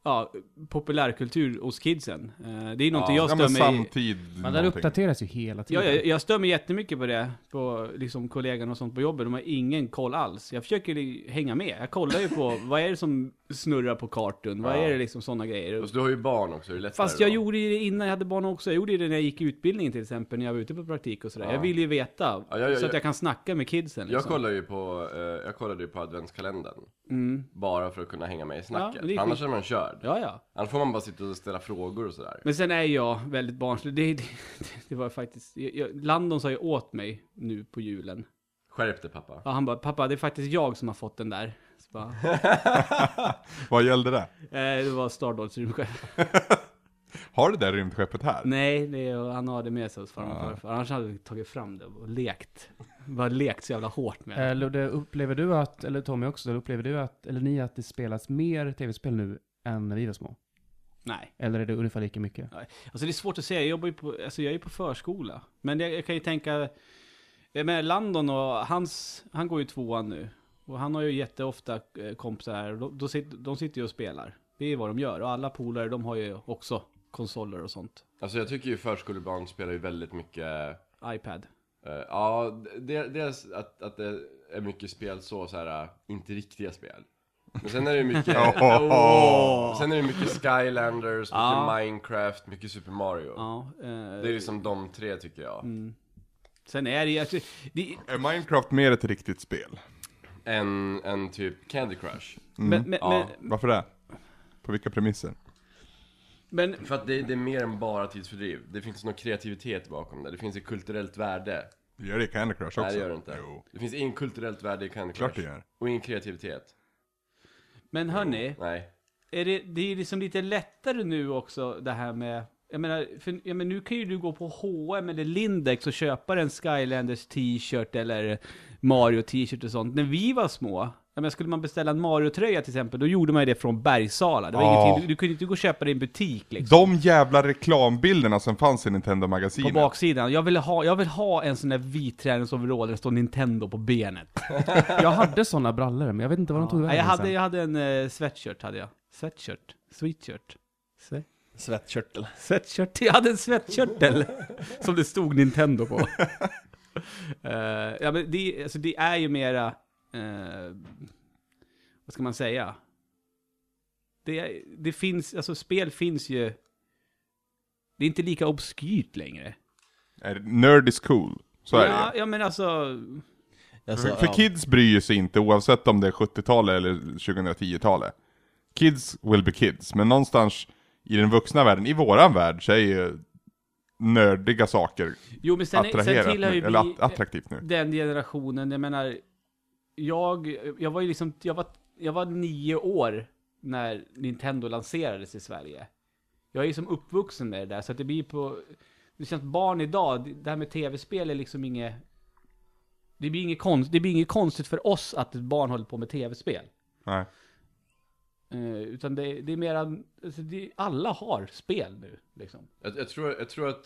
Speaker 2: ja, populärkultur hos kidsen. Eh, Det är någonting
Speaker 1: Ja,
Speaker 2: jag
Speaker 1: men
Speaker 2: stör mig i.
Speaker 1: samtid
Speaker 3: Men den
Speaker 1: någonting.
Speaker 3: uppdateras ju hela
Speaker 2: Ja,
Speaker 3: tiden.
Speaker 2: jag, jag stör mig jättemycket på det, på liksom kollegorna och sånt på jobbet. De har ingen koll alls. Jag försöker li- hänga med. Jag kollar ju på vad är det som snurrar på kartan? Vad
Speaker 5: Ja.
Speaker 2: är det liksom sådana grejer?
Speaker 5: Fast du har ju barn också, det är lättare
Speaker 2: Fast jag
Speaker 5: då.
Speaker 2: gjorde ju det innan jag hade barn också. Jag gjorde ju det när jag gick i utbildningen till exempel, när jag var ute på praktik och sådär.
Speaker 5: Ja.
Speaker 2: Jag vill ju veta,
Speaker 5: Ja, jag- jag-
Speaker 2: så att jag kan snacka med kidsen.
Speaker 5: Jag
Speaker 2: liksom.
Speaker 5: kollade ju på, eh, jag kollade ju på adventskalendern.
Speaker 2: Mm.
Speaker 5: Bara för att kunna hänga med i
Speaker 2: Ja,
Speaker 5: snacket.
Speaker 2: men det är
Speaker 5: Annars
Speaker 2: skit-
Speaker 5: är man körd.
Speaker 2: Ja, ja.
Speaker 5: Annars får man bara sitta och ställa frågor och sådär.
Speaker 2: Men sen är jag väldigt barnslig. Det, det, det var faktiskt... Jag, jag, Landon sa ju åt mig nu på julen.
Speaker 5: Skärp dig pappa.
Speaker 2: Ja, han bara, pappa, det är faktiskt jag som har fått den där. Så bara,
Speaker 1: Vad gällde det?
Speaker 2: eh, det var Stardolls rymdskepp.
Speaker 1: Har du det där rymdskeppet här?
Speaker 2: Nej, det är, han har det med sig hos farmor
Speaker 1: Ja.
Speaker 2: och farfar. Annars hade vi tagit fram det och lekt. Bara lekt så jävla hårt med det.
Speaker 3: Eh, Ludde, upplever du att, eller Tommy också, upplever du att, eller ni att det spelas mer tv-spel nu än när vi var små?
Speaker 2: Nej.
Speaker 3: Eller är det ungefär lika mycket?
Speaker 2: Alltså det är svårt att säga, jag jobbar ju på, alltså jag är ju på förskola. Men jag, jag kan ju tänka, jag menar Landon och hans, han går ju tvåan nu. Och han har ju jätteofta eh, kompisar här, och de, de, sitter, de sitter ju och spelar. Det är vad de gör, och alla polare de har ju också konsoler och sånt.
Speaker 5: Alltså jag tycker ju förskolebarn spelar ju väldigt mycket,
Speaker 2: iPad.
Speaker 5: eh, ja, de- dels att, att det är mycket spel så, så här, eh, inte riktiga spel. Men sen är det ju mycket, Oh.
Speaker 1: Åh.
Speaker 5: sen är det mycket Skylanders, mycket
Speaker 2: Ja.
Speaker 5: Minecraft, mycket Super Mario.
Speaker 2: Ja. Eh,
Speaker 5: Det är liksom de tre tycker jag.
Speaker 2: mm. Sen är det ju, alltså, det,
Speaker 1: Är Minecraft mer ett riktigt spel?
Speaker 5: En, en typ Candy Crush.
Speaker 1: Mm.
Speaker 2: men, men,
Speaker 5: Ja.
Speaker 2: men,
Speaker 1: Varför det? På vilka premisser?
Speaker 2: men
Speaker 5: För att det, det är mer än bara tidsfördriv. Det finns någon kreativitet bakom det. Det finns ett kulturellt värde.
Speaker 1: Det gör det i Candy Crush också.
Speaker 5: Nej det gör det inte.
Speaker 1: Jo,
Speaker 5: Det finns inget kulturellt värde i Candy Crush.
Speaker 1: klart det gör.
Speaker 5: Och ingen kreativitet.
Speaker 2: Men hörni,
Speaker 5: Nej.
Speaker 2: är det, det är ju liksom lite lättare nu också det här med Jag menar, för, ja, men nu kan ju du gå på H&M eller Lindex och köpa en Skylanders t-shirt eller Mario t-shirt och sånt. När vi var små, ja, men skulle man beställa en Mario-tröja till exempel, då gjorde man ju det från Bergsala. Det var
Speaker 1: Ja.
Speaker 2: ingenting, du, du kunde inte gå och köpa det i en butik liksom.
Speaker 1: De jävla reklambilderna som fanns i
Speaker 2: På
Speaker 1: Nintendo-magasinet.
Speaker 2: baksidan. Jag vill ha, jag vill ha en sån där vit träningsoverall där det står Nintendo på benet.
Speaker 3: Jag hade sådana brallor, men jag vet inte vad de tog
Speaker 2: Nej,
Speaker 3: vägen
Speaker 2: jag, hade,
Speaker 3: sen.
Speaker 2: jag hade en eh, sweatshirt, hade jag. Sweatshirt? Sweatshirt? Se-
Speaker 4: Svettkörtel.
Speaker 2: Sweatshirt? Jag hade en svettkörtel som det stod Nintendo på. Eh, ja, men det, alltså, det är ju mera... eh, vad ska man säga? Det, är- det finns, alltså spel finns ju... Det är inte lika obskyrt längre.
Speaker 1: Eh, Nerd is cool. Så är
Speaker 2: ja,
Speaker 1: det
Speaker 2: ja, men alltså...
Speaker 4: Alltså,
Speaker 1: ju. För
Speaker 4: ja.
Speaker 1: kids bryr ju sig inte oavsett om det är 70-talet eller 2010-talet. Kids will be kids, men någonstans i den vuxna världen, i våran värld, så är ju nördiga saker
Speaker 2: Jo, men sen, sen
Speaker 1: attraherat
Speaker 2: tillhör
Speaker 1: nu,
Speaker 2: ju
Speaker 1: eller
Speaker 2: vi
Speaker 1: att, attraktivt nu.
Speaker 2: den generationen, jag menar, jag, jag var ju liksom, jag var, jag var nio år när Nintendo lanserades i Sverige. Jag är ju som uppvuxen med det där, så att det blir på, det känns barn idag, det- det här med tv-spel är liksom inget, det blir inget, konst, det blir inget konstigt för oss att ett barn håller på med tv-spel.
Speaker 1: Nej.
Speaker 2: Eh, utan det, det är mera, alltså det, alla har spel nu liksom.
Speaker 5: Jag, jag, tror, jag tror att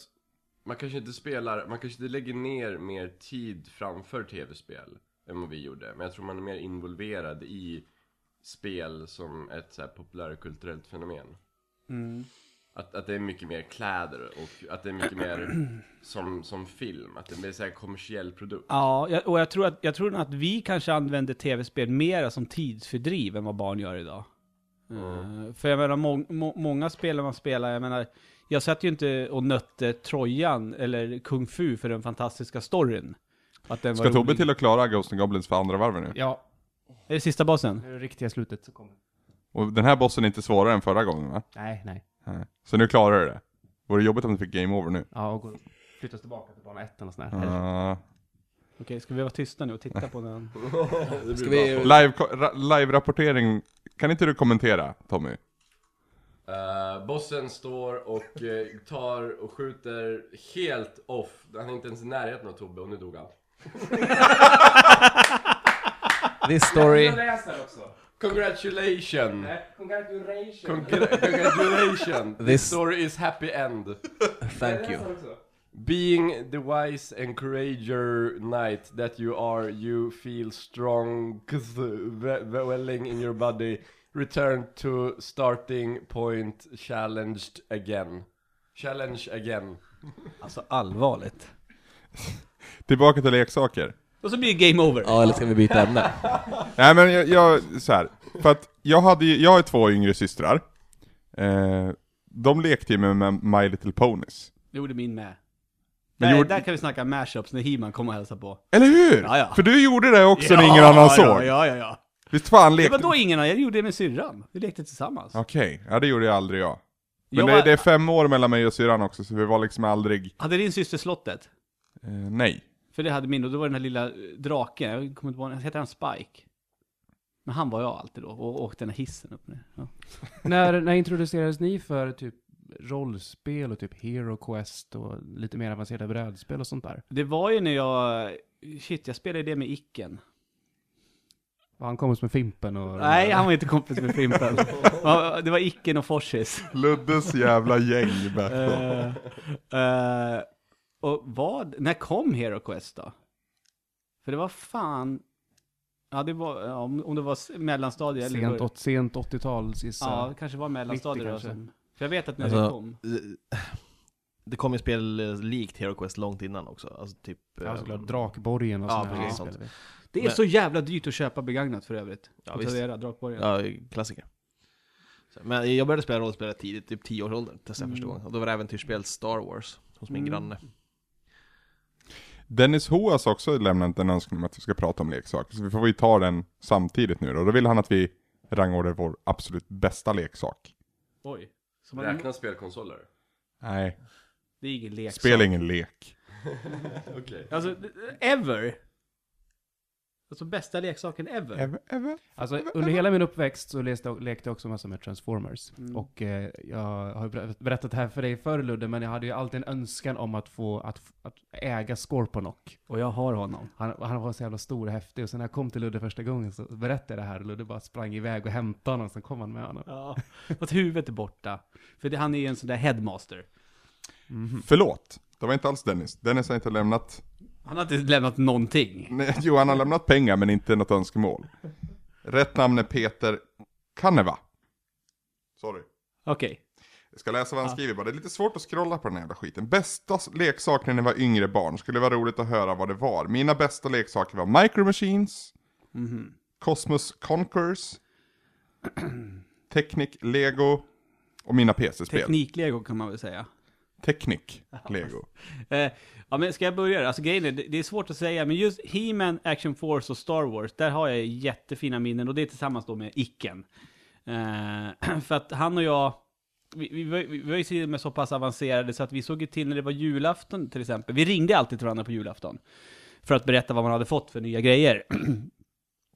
Speaker 5: man kanske inte spelar, man kanske inte lägger ner mer tid framför tv-spel än vad vi gjorde. Men jag tror man är mer involverad i spel som ett så här populärkulturellt fenomen. Att, att det är mycket mer kläder och att det är mycket mer som, som film. Att det blir så här kommersiell produkt.
Speaker 2: Ja, jag- och jag tror, att, jag tror nog att vi kanske använder tv-spel mera som tidsfördriv än vad barn gör idag. Eh, för jag menar, må, må, många spel man spelar, jag menar, jag satt ju inte och nötte Trojan eller Kung Fu för den fantastiska storyn. Att den
Speaker 1: Ska
Speaker 2: var
Speaker 1: Tobbe
Speaker 2: rolig.
Speaker 1: till att klara Ghost and Goblins för andra varvet nu?
Speaker 3: Ja,
Speaker 2: Är det sista basen?
Speaker 3: det riktiga slutet så kommer.
Speaker 1: Och den här bossen är inte svårare än förra gången va?
Speaker 3: Nej, nej.
Speaker 1: Nej. Så nu klarar du det. Vore det jobbigt om du fick game over nu?
Speaker 3: Ja, och går, flyttas tillbaka till bana ett och sån här.
Speaker 1: Uh,
Speaker 2: Okej, ska vi vara tysta nu och titta på den?
Speaker 4: Ska vi...
Speaker 1: live, ra- live-rapportering, kan inte du kommentera Tommy?
Speaker 5: Eh, bossen står och eh, tar och skjuter helt off. Han är inte ens i närheten av Tobbe och nu dog han.
Speaker 4: This story...
Speaker 3: läser också.
Speaker 5: Congratulations!
Speaker 3: Congratulations.
Speaker 5: Congra- Congratulations! This
Speaker 4: This-
Speaker 5: story is happy end.
Speaker 4: Thank you.
Speaker 5: Being the wise and courageous knight that you are, you feel strong cause, uh, we- welling in your body. Return to starting point, challenged again. Challenge again.
Speaker 2: Alltså allvarligt.
Speaker 1: Tillbaka till leksaker.
Speaker 2: Och så blir det game over.
Speaker 4: Ja, eller ska vi byta ämne?
Speaker 1: Nej men jag, jag så här. för att jag hade ju, jag har ju två yngre systrar. Eh, de lekte ju med, med My Little Ponies.
Speaker 2: Det gjorde min med.
Speaker 1: Men
Speaker 2: där,
Speaker 1: gjorde-
Speaker 2: där kan vi snacka mashups när He-Man kommer och hälsar på.
Speaker 1: Eller hur?
Speaker 2: Ja, ja.
Speaker 1: För du gjorde det också när ingen annan såg.
Speaker 2: Ja, ja, ja. ja.
Speaker 1: Visst fan
Speaker 2: Det
Speaker 1: lekte...
Speaker 2: var då ingen annan, jag gjorde det med syrran. Vi lekte tillsammans.
Speaker 1: Okej, ja det gjorde jag aldrig jag. Men
Speaker 2: Jag
Speaker 1: det,
Speaker 2: var-
Speaker 1: det är fem år mellan mig och syrran också, så vi var liksom aldrig,
Speaker 2: Hade din syster slottet?
Speaker 1: eh, nej.
Speaker 2: För det hade min, och då var den här lilla eh, draken, jag kommer inte ihåg, hette han Spike? Men han var jag alltid då, och åkte den här hissen upp nu. Ja.
Speaker 3: när, när introducerades ni för typ rollspel och typ Hero Quest och lite mer avancerade brädspel och sånt där?
Speaker 2: Det var ju när jag, eh, shit jag spelade det med Icken.
Speaker 3: Var han kompis med Fimpen och...
Speaker 2: Nej, han var inte kompis med Fimpen. Ja, det var Icken och Forsis.
Speaker 1: Luddes jävla gäng back then.
Speaker 2: Eh, eh, och vad, när kom Hero Quest då? För det var fan, ja det var, ja, om, om det var s- mellanstadiet eller
Speaker 3: Sent,
Speaker 2: början.
Speaker 3: åt, sent 80-tal, gissa.
Speaker 2: Ja, det kanske var mellanstadiet
Speaker 3: 90
Speaker 2: då.
Speaker 3: kanske.
Speaker 2: Som, för jag vet att när det
Speaker 4: Alltså,
Speaker 2: kom.
Speaker 4: Det kom ju spel eh, likt HeroQuest långt innan också. Alltså typ...
Speaker 3: Ja,
Speaker 4: eh,
Speaker 3: såklart. Drakborgen och
Speaker 4: Ja,
Speaker 3: såna här
Speaker 4: precis,
Speaker 3: spel.
Speaker 2: Det är
Speaker 4: Men-
Speaker 2: så jävla dyrt att köpa begagnat för övrigt.
Speaker 4: Ja,
Speaker 2: Ja,
Speaker 4: visst.
Speaker 2: Tradera, Drakborgen.
Speaker 4: Ja, klassiker. Så, Men jag började spela rollspel tidigt, typ 10 års ålder, testade jag första
Speaker 2: Mm.
Speaker 4: gången. Och då var det äventyrsspel Star Wars hos min
Speaker 2: Mm.
Speaker 4: granne.
Speaker 1: Dennis Hoas också lämnat en önskan om att vi ska prata om leksaker, så vi får ju ta den samtidigt nu då. Då vill han att vi rangordnar vår absolut bästa leksak.
Speaker 2: Oj. Så man,
Speaker 5: Räkna spelkonsoler.
Speaker 1: Nej.
Speaker 2: det är ingen leksak.
Speaker 1: Spel är ingen lek.
Speaker 5: Okej.
Speaker 2: Alltså, ever! Alltså bästa leksaken ever.
Speaker 1: Ever, ever.
Speaker 3: Alltså, under hela min uppväxt så läste, jag- lekte jag också massa med Transformers.
Speaker 2: Mm.
Speaker 3: Och eh, jag har ju ber- berättat det här för dig förr Ludde, men jag hade ju alltid en önskan om att få, att, f- att äga Scorponok.
Speaker 2: Och jag har honom.
Speaker 3: Han, han var så jävla stor och häftig, och sen när jag kom till Ludde första gången så berättade jag det här, och Ludde bara sprang iväg och hämtade honom, sen kom han med honom.
Speaker 2: Ja. Fast huvudet är borta. För det, han är ju en sån där headmaster.
Speaker 1: Mm-hmm. Förlåt, det var inte alls Dennis. Dennis har inte lämnat,
Speaker 2: Han har inte lämnat någonting.
Speaker 1: nej, jo han har lämnat pengar men inte något önskemål. Rätt namn är Peter Kanneva. Sorry.
Speaker 2: Okej.
Speaker 1: Jag ska läsa vad han
Speaker 2: Ja.
Speaker 1: skriver bara, det är lite svårt att scrolla på den här jävla skiten. Bästa s- leksaker när ni var yngre barn, skulle vara roligt att höra vad det var. Mina bästa leksaker var Micro Machines,
Speaker 2: Mhm.
Speaker 1: Cosmos Conquers, Technic Lego och mina PC-spel.
Speaker 2: Tekniklego kan man väl säga.
Speaker 1: Technic Lego.
Speaker 2: Eh, ja men ska jag börja då? Alltså grejen är, det det är svårt att säga, men just He-Man, Action Force och Star Wars, där har jag jättefina minnen och det är tillsammans då med Icken. Eh, för att han och jag, vi, vi, var- vi var ju till och med så pass avancerade så att vi såg ju till när det var julafton till exempel. Vi ringde alltid till varandra på julafton för att berätta vad man hade fått för nya grejer.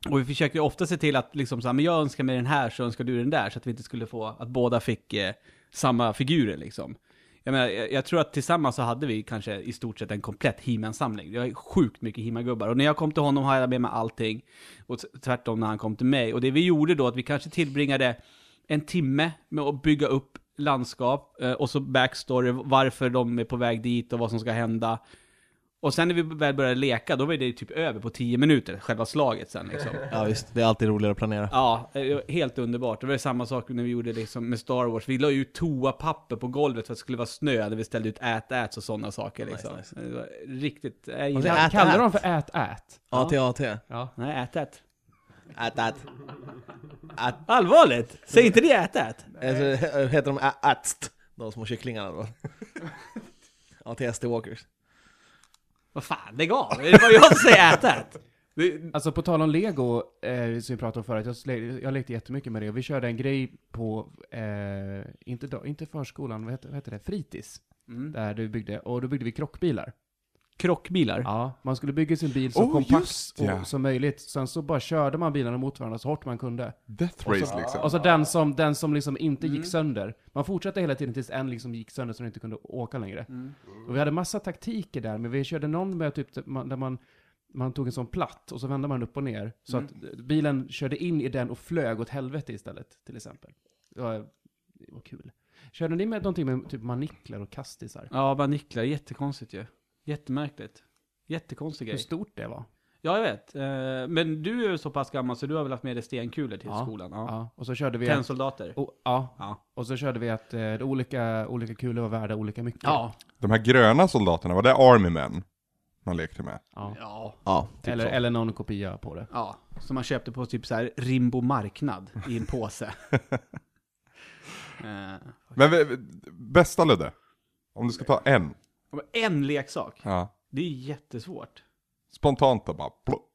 Speaker 2: Och vi försökte ju ofta se till att liksom så här, men jag önskar mig den här så önskar du den där, så att vi inte skulle få, att båda fick eh, samma figurer liksom. Jag menar, jag, jag tror att tillsammans så hade vi kanske i stort sett en komplett He-Man-samling. Jag är sjukt mycket He-Man-gubbar. Och när jag kom till honom hade jag med mig allting. Och t- tvärtom när han kom till mig. Och det vi gjorde då, att vi kanske tillbringade en timme med att bygga upp landskap. eh, Och så backstory, varför de är på väg dit och vad som ska hända. Och sen när vi väl började leka, då var det typ över på 10 minuter, själva slaget sen liksom.
Speaker 4: Ja visst, det är alltid roligare att planera.
Speaker 2: Ja, eh, helt underbart. Det var ju samma sak när vi gjorde liksom med Star Wars. Vi la ju ut toapapper på golvet för att det skulle vara snö när vi ställde ut ät-äts och sådana saker.
Speaker 4: Nice,
Speaker 2: Liksom.
Speaker 4: nice.
Speaker 2: Det var riktigt... eh, Jag
Speaker 4: det
Speaker 2: gillar...
Speaker 3: Kallar
Speaker 4: är- Ät,
Speaker 3: kallar
Speaker 4: ät.
Speaker 3: de för ät-ät?
Speaker 4: AT, AT. Ät,
Speaker 3: Ja.
Speaker 2: Nej, ät-ät.
Speaker 4: ät. Ät.
Speaker 2: Allvarligt? Säg inte det ät-ät?
Speaker 4: Alltså, he- heter de ä- ätst? De små kycklingarna då? AT-ST Walkers.
Speaker 2: Vad fan, lägg av! Det var jag som säger ät-ät! Det-
Speaker 3: Alltså på tal om Lego, eh, som vi pratade om förut, jag, sle- jag lekte jättemycket med det. Och vi körde en grej på, eh, inte, dag- inte förskolan, vad heter, vad heter det? Fritids.
Speaker 2: Mm.
Speaker 3: Där du byggde, och då byggde vi krockbilar.
Speaker 2: Krockbilar?
Speaker 3: Ja, man skulle bygga sin bil så
Speaker 1: Oh,
Speaker 3: kompakt
Speaker 1: just ja.
Speaker 3: och, som möjligt. Sen så bara körde man bilarna mot varandra så hårt man kunde.
Speaker 1: Death
Speaker 3: Och så-
Speaker 1: Race liksom.
Speaker 3: Och så Alltså den som, den som liksom inte gick sönder. Man fortsatte hela tiden tills en liksom gick sönder så den inte kunde åka längre. Och vi hade massa taktiker där, men vi körde någon med typ där man, där man man tog en sån platt och så vände man upp och ner. Så att eh, bilen körde in i den och flög åt helvete istället, till exempel. Det var, det var kul. Körde ni med någonting med typ maniklar och kastisar?
Speaker 2: Ja, maniklar. Jättekonstigt ju. Jättemärkligt. Jättekonstig
Speaker 3: Hur
Speaker 2: grej.
Speaker 3: stort det var?
Speaker 2: Ja, jag vet. Eh, Men du är ju så pass gammal så du har väl haft med dig stenkulor till
Speaker 3: Ja.
Speaker 2: skolan?
Speaker 3: Ja.
Speaker 2: Ja.
Speaker 3: Och så körde vi...
Speaker 2: Tennsoldater?
Speaker 3: Och, ja.
Speaker 2: Ja.
Speaker 3: Och så körde vi att eh, de olika, olika kulor var värda olika mycket.
Speaker 2: Ja.
Speaker 1: De här gröna soldaterna, var det Army Men man lekte med?
Speaker 3: Ja.
Speaker 2: Ja.
Speaker 4: Ja, typ
Speaker 3: eller,
Speaker 4: så.
Speaker 3: eller någon kopia på det.
Speaker 2: Ja, som man köpte på typ så här Rimbo marknad i en påse. Eh,
Speaker 1: Men v- v- bästa Ludde? Om du ska ta en?
Speaker 2: och en leksak,
Speaker 1: Ja.
Speaker 2: det är jättesvårt.
Speaker 1: Spontant då bara. plopp.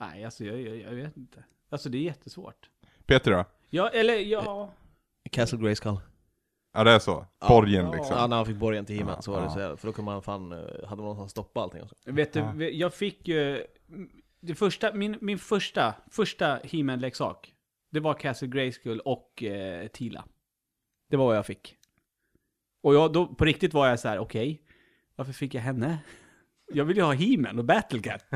Speaker 2: Nej, alltså jag, jag, jag vet inte. Alltså det är jättesvårt.
Speaker 1: Peter då?
Speaker 2: Ja, eller ja...
Speaker 4: Castle Grayskull.
Speaker 1: Ja det är så.
Speaker 4: Ja.
Speaker 1: Borgen
Speaker 2: Ja.
Speaker 1: liksom.
Speaker 4: Ja, när han fick borgen till himlen
Speaker 1: Ja,
Speaker 4: så var det
Speaker 1: ja.
Speaker 4: så jävla- För då kunde man fan, eh, hade man någonstans stoppa allting också.
Speaker 2: Vet du,
Speaker 1: Ja.
Speaker 2: vi- jag fick ju... Det första, min, min första, första He-Man-leksak, det var Castle Grayskull och eh, Tila. Det var vad jag fick. Och jag, då, på riktigt var jag så här, okej, varför fick jag henne? Jag ville ju ha He-Man och Battlecat.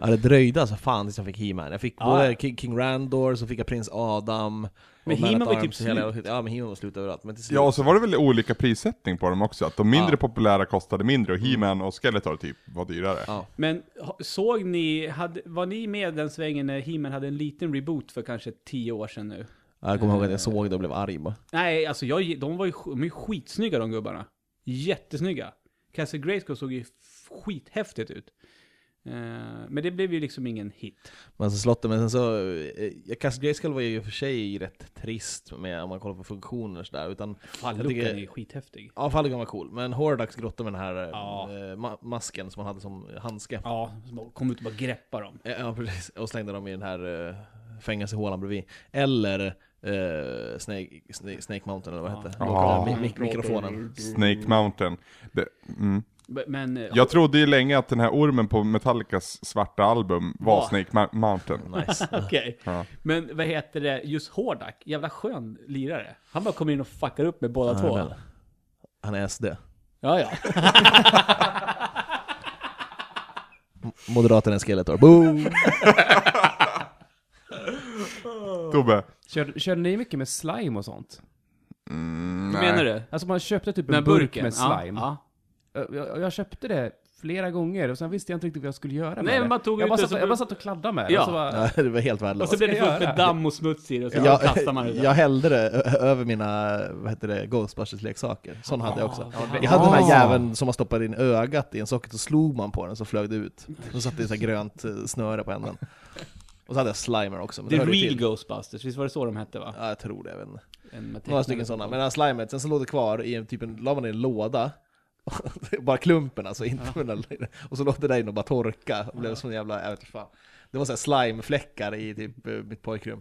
Speaker 4: Ja det dröjde alltså fan tills jag fick He-Man. Jag fick
Speaker 2: Ja.
Speaker 4: både King, King Randor, så fick jag Prins Adam och
Speaker 2: Men
Speaker 4: Man
Speaker 2: He-Man
Speaker 4: at
Speaker 2: var ju typ
Speaker 4: Arms och hela- Ja men He-Man var slut överallt. Men till slut,
Speaker 1: Ja och så var det väl olika prissättning på dem också. Att de mindre
Speaker 4: Ja.
Speaker 1: populära kostade mindre och He-Man och Skeletor typ var dyrare.
Speaker 4: Ja.
Speaker 2: Men ha- såg ni, hade, var ni med den svängen när He-Man hade en liten reboot för kanske tio år sedan nu?
Speaker 4: Ja, jag kommer ihåg att jag såg det och blev arg bara.
Speaker 2: Nej, alltså jag, de var ju sk- de är ju skitsnygga de gubbarna. Jättesnygga. Castle Grayskull såg ju f- skithäftigt ut. Eh, Men det blev ju liksom ingen hit.
Speaker 4: Men så slottet, men sen så... Eh, Castle Grayskull var ju i och för sig rätt trist med, om man kollar på funktioner och sådär. Utan
Speaker 2: Falluckan
Speaker 4: tycker-
Speaker 2: är ju skithäftig.
Speaker 4: Ja, Fallogan var cool, men Hordax grotta med den här eh,
Speaker 2: Ja.
Speaker 4: ma- masken som han hade som handske. Ja.
Speaker 2: Ja, som bara kom ut och bara greppa dem.
Speaker 4: ja, precis. Och slängde dem i den här eh, fängelsehålan bredvid. Eller eh, Snake, Snake, Snake Mountain eller vad hette
Speaker 1: Ja.
Speaker 4: Mi- mi- Mikrofonen.
Speaker 1: Snake Mountain. Det, mm.
Speaker 2: B- Men... eh,
Speaker 1: Jag trodde ju länge att den här ormen på Metallicas svarta album var
Speaker 2: Ja.
Speaker 1: Snake Ma- Mountain.
Speaker 4: Nice.
Speaker 2: Okej.
Speaker 1: Ja.
Speaker 2: Men vad heter det, just Hordak, jävla skön lirare. Han bara kommer in och fuckar upp med båda
Speaker 4: Han är
Speaker 2: två.
Speaker 4: väl- Han är SD.
Speaker 2: Ja, ja.
Speaker 4: Moderaterna är Skeletor. Boom!
Speaker 1: Tobbe?
Speaker 3: Körde, körde ni mycket med slime och sånt?
Speaker 1: Mm,
Speaker 2: Vad
Speaker 1: nej.
Speaker 2: menar du?
Speaker 3: Alltså man köpte typ
Speaker 2: Den här
Speaker 3: en burk
Speaker 2: burken?
Speaker 3: med slime.
Speaker 2: Ja,
Speaker 3: Jag, jag, jag köpte det flera gånger och sen visste jag inte riktigt vad jag skulle göra med
Speaker 2: Nej,
Speaker 3: det.
Speaker 2: men man tog
Speaker 3: jag,
Speaker 2: ut
Speaker 3: bara
Speaker 2: det
Speaker 3: satt,
Speaker 2: så-
Speaker 3: jag bara satt och kladdade med det.
Speaker 2: Ja.
Speaker 3: Och så bara,
Speaker 4: Ja, det var helt
Speaker 2: ja. Och så
Speaker 4: värdelöst.
Speaker 2: blev det
Speaker 3: ska jag
Speaker 2: fullt med
Speaker 3: göra?
Speaker 2: damm och smuts i det och så
Speaker 4: Jag,
Speaker 2: kastar man det där.
Speaker 4: jag hällde det ö- ö- över mina, vad heter det, Ghostbusters-leksaker. Sån hade jag också.
Speaker 2: Ja, det-
Speaker 4: Jag hade den här
Speaker 3: Ah.
Speaker 4: jäveln som man stoppade in ögat i en socket och slog man på den så flög det ut. Så satt det så här grönt eh, snöre på änden. Och så hade jag slimer också. Men
Speaker 2: The
Speaker 4: det hörde ju
Speaker 2: Real
Speaker 4: till.
Speaker 2: Ghostbusters, visst var det så de hette va?
Speaker 4: Ja, jag tror det, jag vet inte.
Speaker 2: En med
Speaker 4: Några
Speaker 2: tecknade
Speaker 4: stycken sådana.
Speaker 2: på.
Speaker 4: Men den här slimet, sen så låg det kvar i en typ en, la man i en låda. bara klumpen alltså, inte med den här- Och så låg det där inne och bara torka. Och blev som en jävla, jag vet inte fan. Det var såhär slimefläckar i typ eh, mitt pojkrum.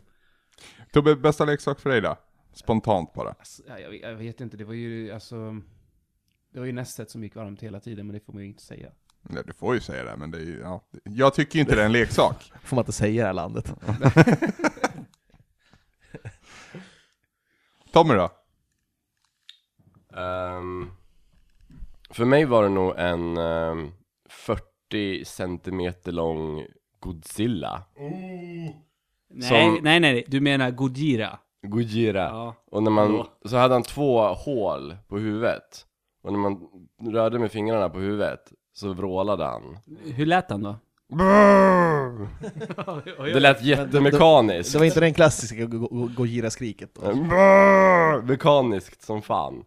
Speaker 1: Tobbe, bästa leksak för dig då? Spontant bara.
Speaker 3: Alltså, ja, jag, jag vet inte, det var ju alltså... Det var ju nästet som gick varmt hela tiden, men det får man ju inte säga.
Speaker 2: Mm.
Speaker 1: Nej, du får ju säga det, men det är ju, ja. Jag tycker ju inte det är en leksak.
Speaker 4: Får man inte säga i det här landet.
Speaker 1: Tommy då?
Speaker 5: Ehm, för mig var det nog en ehm, 40 centimeter lång Godzilla.
Speaker 2: Nej,
Speaker 5: Som-
Speaker 2: nej, nej, nej, du menar Gojira.
Speaker 5: Gojira.
Speaker 2: Ja.
Speaker 5: Och när man,
Speaker 2: Hallå.
Speaker 5: så hade han två hål på huvudet. Och när man rörde med fingrarna på huvudet så vrålade han.
Speaker 2: Hur lät han då?
Speaker 5: Det lät jättemekaniskt.
Speaker 4: Det var inte den klassiska Go- Go- Gojira-skriket.
Speaker 5: Brrr, Mekaniskt som fan.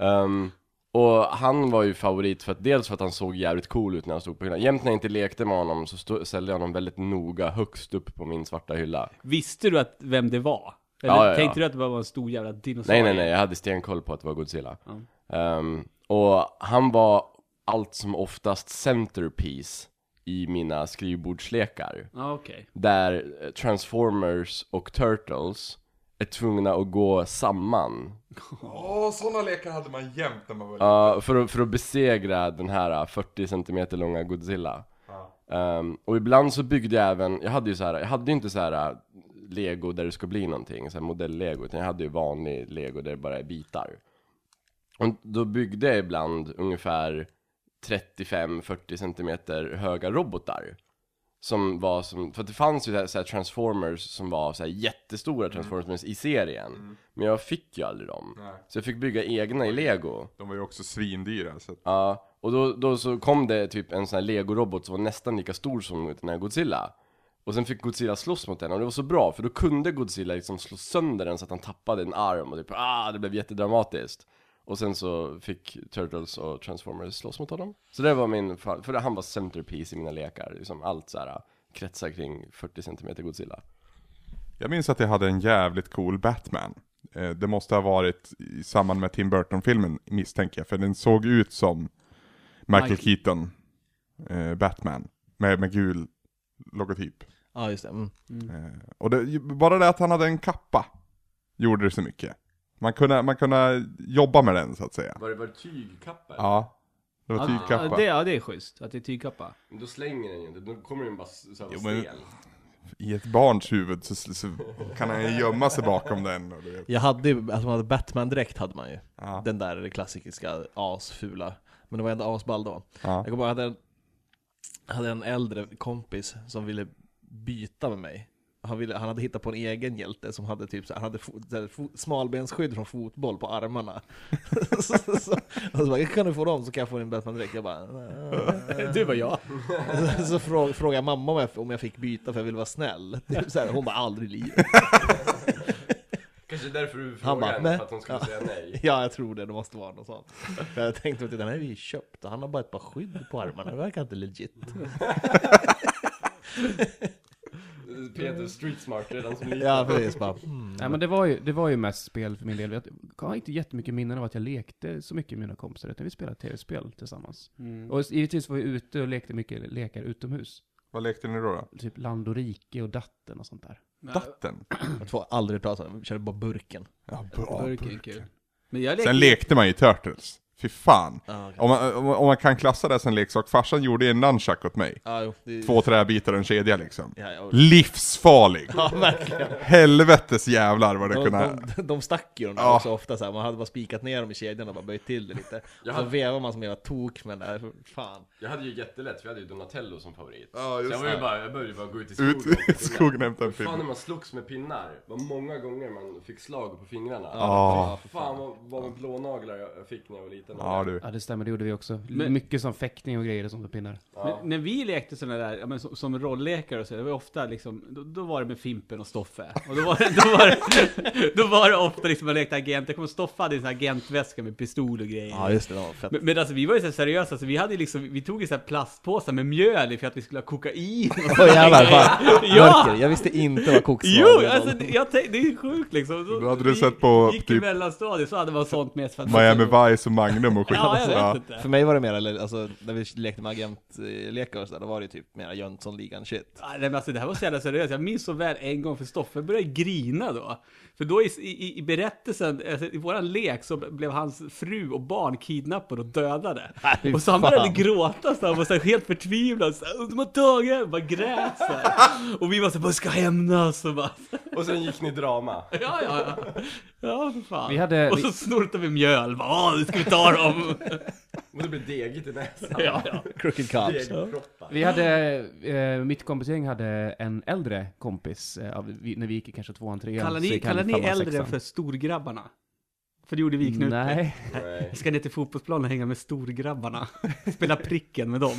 Speaker 5: Ehm, och han var ju favorit för att dels för att han såg jävligt cool ut när han stod på hyllan. Jämt när jag inte lekte med honom så stå, ställde jag honom väldigt noga högst upp på min svarta hylla.
Speaker 2: Visste du att vem det var? Eller
Speaker 5: Ja, ja, ja.
Speaker 2: tänkte du att det bara var en stor jävla dinosaurie?
Speaker 5: Nej nej nej, jag hade stenkoll på att det var Godzilla.
Speaker 2: Ja.
Speaker 5: Ehm, och han var allt som oftast centerpiece i mina skrivbordslekar.
Speaker 2: Ja, okej.
Speaker 5: där eh, Transformers och Turtles är tvungna att gå samman
Speaker 1: Åh, sådana lekar hade man jämt när man var
Speaker 5: Ja, för, att, för att besegra den här eh, 40 cm långa Godzilla. Ehm, och ibland så byggde jag även, jag hade ju så här, jag hade ju inte så här eh, lego där det ska bli någonting, så här modell-lego, utan jag hade ju vanlig lego där det bara är bitar. Och då byggde jag ibland ungefär 35-40 cm höga robotar. Som var som, för att det fanns ju så här- så här transformers som var så här jättestora transformers i serien. Men jag fick ju aldrig dem. Så jag fick bygga egna i lego.
Speaker 1: De var ju också svindyra. Så att...
Speaker 5: Ja, och då, då så kom det typ en sån här Lego-robot som var nästan lika stor som den här Godzilla. Och sen fick Godzilla slåss mot den och det var så bra för då kunde Godzilla liksom slå sönder den så att han tappade en arm och typ ah, det blev jättedramatiskt. Och sen så fick Turtles och Transformers slåss mot honom. Så det var min, fa- för han var centerpiece i mina lekar, liksom allt så här kretsar kring 40 cm Godzilla.
Speaker 1: Jag minns att jag hade en jävligt cool Batman. Eh, Det måste ha varit i samband med Tim Burton-filmen misstänker jag, för den såg ut som Michael
Speaker 2: Michael-
Speaker 1: Keaton, eh, Batman, med, med gul logotyp.
Speaker 4: Ja, just det. Mm.
Speaker 1: Eh, Och det, bara det att han hade en kappa gjorde det så mycket. Man kunde, man kunde jobba med den så att säga.
Speaker 5: Var det, var det tygkappa?
Speaker 1: Ja, det var
Speaker 2: Ja,
Speaker 1: tygkappa.
Speaker 2: det, ja, det är schysst att det är tygkappa.
Speaker 5: Då slänger den ju inte, då kommer den bara såhär
Speaker 1: Jo, men- stel. I ett barns huvud så, så, så kan han ju gömma sig bakom den. Och du vet.
Speaker 4: Jag hade ju, alltså man hade Batman-dräkt hade man ju.
Speaker 1: Ja.
Speaker 4: Den där klassiska asfula. Men det var ändå asball då.
Speaker 1: Ja.
Speaker 4: Jag kommer ihåg, jag hade en, jag hade en äldre kompis som ville byta med mig. Han, ville, han hade hittat på en egen hjälte som hade typ så här, han hade fo, så här, fo, smalbensskydd från fotboll på armarna. så, så, så, och så bara, kan du få dem så kan jag få din Batman-dräkt. Jag bara,
Speaker 2: Du var jag.
Speaker 4: Så- Så frå- frågade jag mamma om jag, om jag fick byta för jag ville vara snäll. Typ så här, hon bara aldrig i livet.
Speaker 5: Kanske därför du
Speaker 4: Han bara,
Speaker 5: frågade henne,
Speaker 4: "Nej."
Speaker 5: för att hon skulle
Speaker 4: Ja.
Speaker 5: säga nej.
Speaker 4: Ja, jag tror det. Det måste vara något sånt. För jag tänkte att den här är ju köpt och han har bara ett par skydd på armarna. Det verkar inte legit.
Speaker 5: Peter street smart redan som liten.
Speaker 4: Ja, precis. Bara, mm.
Speaker 3: Nej, men det var, ju, det var ju mest spel för min del. Jag har inte jättemycket minnen av att jag lekte så mycket med mina kompisar, utan vi spelade tv-spel tillsammans.
Speaker 2: Mm.
Speaker 3: Och givetvis var vi ute och lekte mycket lekar utomhus.
Speaker 1: Vad lekte ni då? då?
Speaker 3: Typ land och rike och datten och sånt där.
Speaker 1: Datten?
Speaker 4: Jag får aldrig prata om det. Vi körde bara burken.
Speaker 1: Ja,
Speaker 2: Burken, kul. Men jag lekte...
Speaker 1: Sen lekte man ju Turtles. Fy fan.
Speaker 4: Ja, okej.
Speaker 1: Om man, om man- om man kan klassa det som leksak, farsan gjorde ju en nunchuck åt mig.
Speaker 4: Ja, jo, det...
Speaker 1: Två träbitar och en kedja liksom.
Speaker 4: Ja, ja.
Speaker 1: Livsfarlig!
Speaker 4: Ja, verkligen.
Speaker 1: Helvetes jävlar vad det
Speaker 4: De,
Speaker 1: kunde...
Speaker 4: de, de stack ju de där
Speaker 1: Ja.
Speaker 4: också ofta så här. man hade bara spikat ner dem i kedjan och bara böjt till det lite. Och så
Speaker 5: hade-
Speaker 4: vevar man som jävla tok med den där, fan.
Speaker 5: Jag hade ju jättelätt, för jag hade ju Donatello som favorit.
Speaker 1: Ja, just
Speaker 5: så jag, var ju
Speaker 1: det.
Speaker 5: bara, jag började ju bara gå ut i skogen.
Speaker 1: Ut i skogen och hämta en
Speaker 5: Fan när
Speaker 1: film.
Speaker 5: man slogs med pinnar, vad många gånger man fick slag på fingrarna.
Speaker 1: Ja.
Speaker 5: Fy Fan vad, vad med blånaglar jag jag fick när jag var liten.
Speaker 1: Ja du.
Speaker 3: Ja, det stämmer. Det gjorde vi också.
Speaker 2: Men-
Speaker 3: Mycket som fäktning och grejer och sånt med pinnar.
Speaker 5: Ja.
Speaker 2: Men När vi lekte sådana där, ja, men som, som rolllekar och så, det var ju ofta liksom, då, då var det med Fimpen och Stoffe. Och då var det, då var det, då var det ofta liksom man lekte agent, jag kommer ihåg Stoffe hade en sån här agentväska med pistol och grejer.
Speaker 4: Ja just det, det var fett.
Speaker 2: Men, men alltså vi var ju så här seriösa, så vi hade ju liksom, vi tog ju så här plastpåsar med mjöl i för att vi skulle ha kokain och
Speaker 4: Åh jävlar, fan.
Speaker 2: Ja!
Speaker 4: Mörker, jag visste inte vad koks
Speaker 2: Jo,
Speaker 4: var.
Speaker 2: alltså det- jag tänkte, det är sjukt liksom. Så,
Speaker 1: Då hade du
Speaker 2: vi
Speaker 1: sett på
Speaker 2: Gick i
Speaker 1: typ-
Speaker 2: mellanstadiet så hade man sånt med sig.
Speaker 1: Miami Vice och Magnum och skit.
Speaker 2: Ja, jag vet
Speaker 1: Ja.
Speaker 2: inte.
Speaker 4: För mig var det mer, eller, alltså när vi lekte med agentlekar och sådär, då var det ju typ mera Jönssonligan shit.
Speaker 2: Nej men alltså det här var så jävla seriöst, jag minns så väl en gång för Stoffe började grina då. För då i, i, i berättelsen, alltså, i våran lek så blev hans fru och barn kidnappade och dödade.
Speaker 4: fy
Speaker 2: och så han
Speaker 4: fan.
Speaker 2: började gråta så han var så här, helt förtvivlad, så här, de har tagit henne", bara grät så här. Och vi var så här, "Bara, ska hämnas och bara,
Speaker 5: Och sen gick ni drama.
Speaker 2: ja ja ja. Ja för fan.
Speaker 3: Vi hade-
Speaker 2: och så
Speaker 3: vi-
Speaker 2: snortade vi mjöl, bara, "Åh, nu ska vi ta dem.
Speaker 5: Och det blev degigt i näsan.
Speaker 2: ja, ja.
Speaker 4: Crooked Cops.
Speaker 5: Degproppar.
Speaker 3: Vi hade, eh, mitt kompisgäng hade en äldre kompis, eh, av- vi, när vi gick i kanske tvåan, trean.
Speaker 2: Kallar
Speaker 3: så
Speaker 2: ni,
Speaker 3: gick han i
Speaker 2: kallar ni
Speaker 3: femman,
Speaker 2: äldre
Speaker 3: sexan.
Speaker 2: för storgrabbarna? För det gjorde vi i Knutby.
Speaker 3: Nej,
Speaker 5: Nej.
Speaker 2: Vi ska ner till fotbollsplanen och hänga med storgrabbarna. Spela pricken med dem.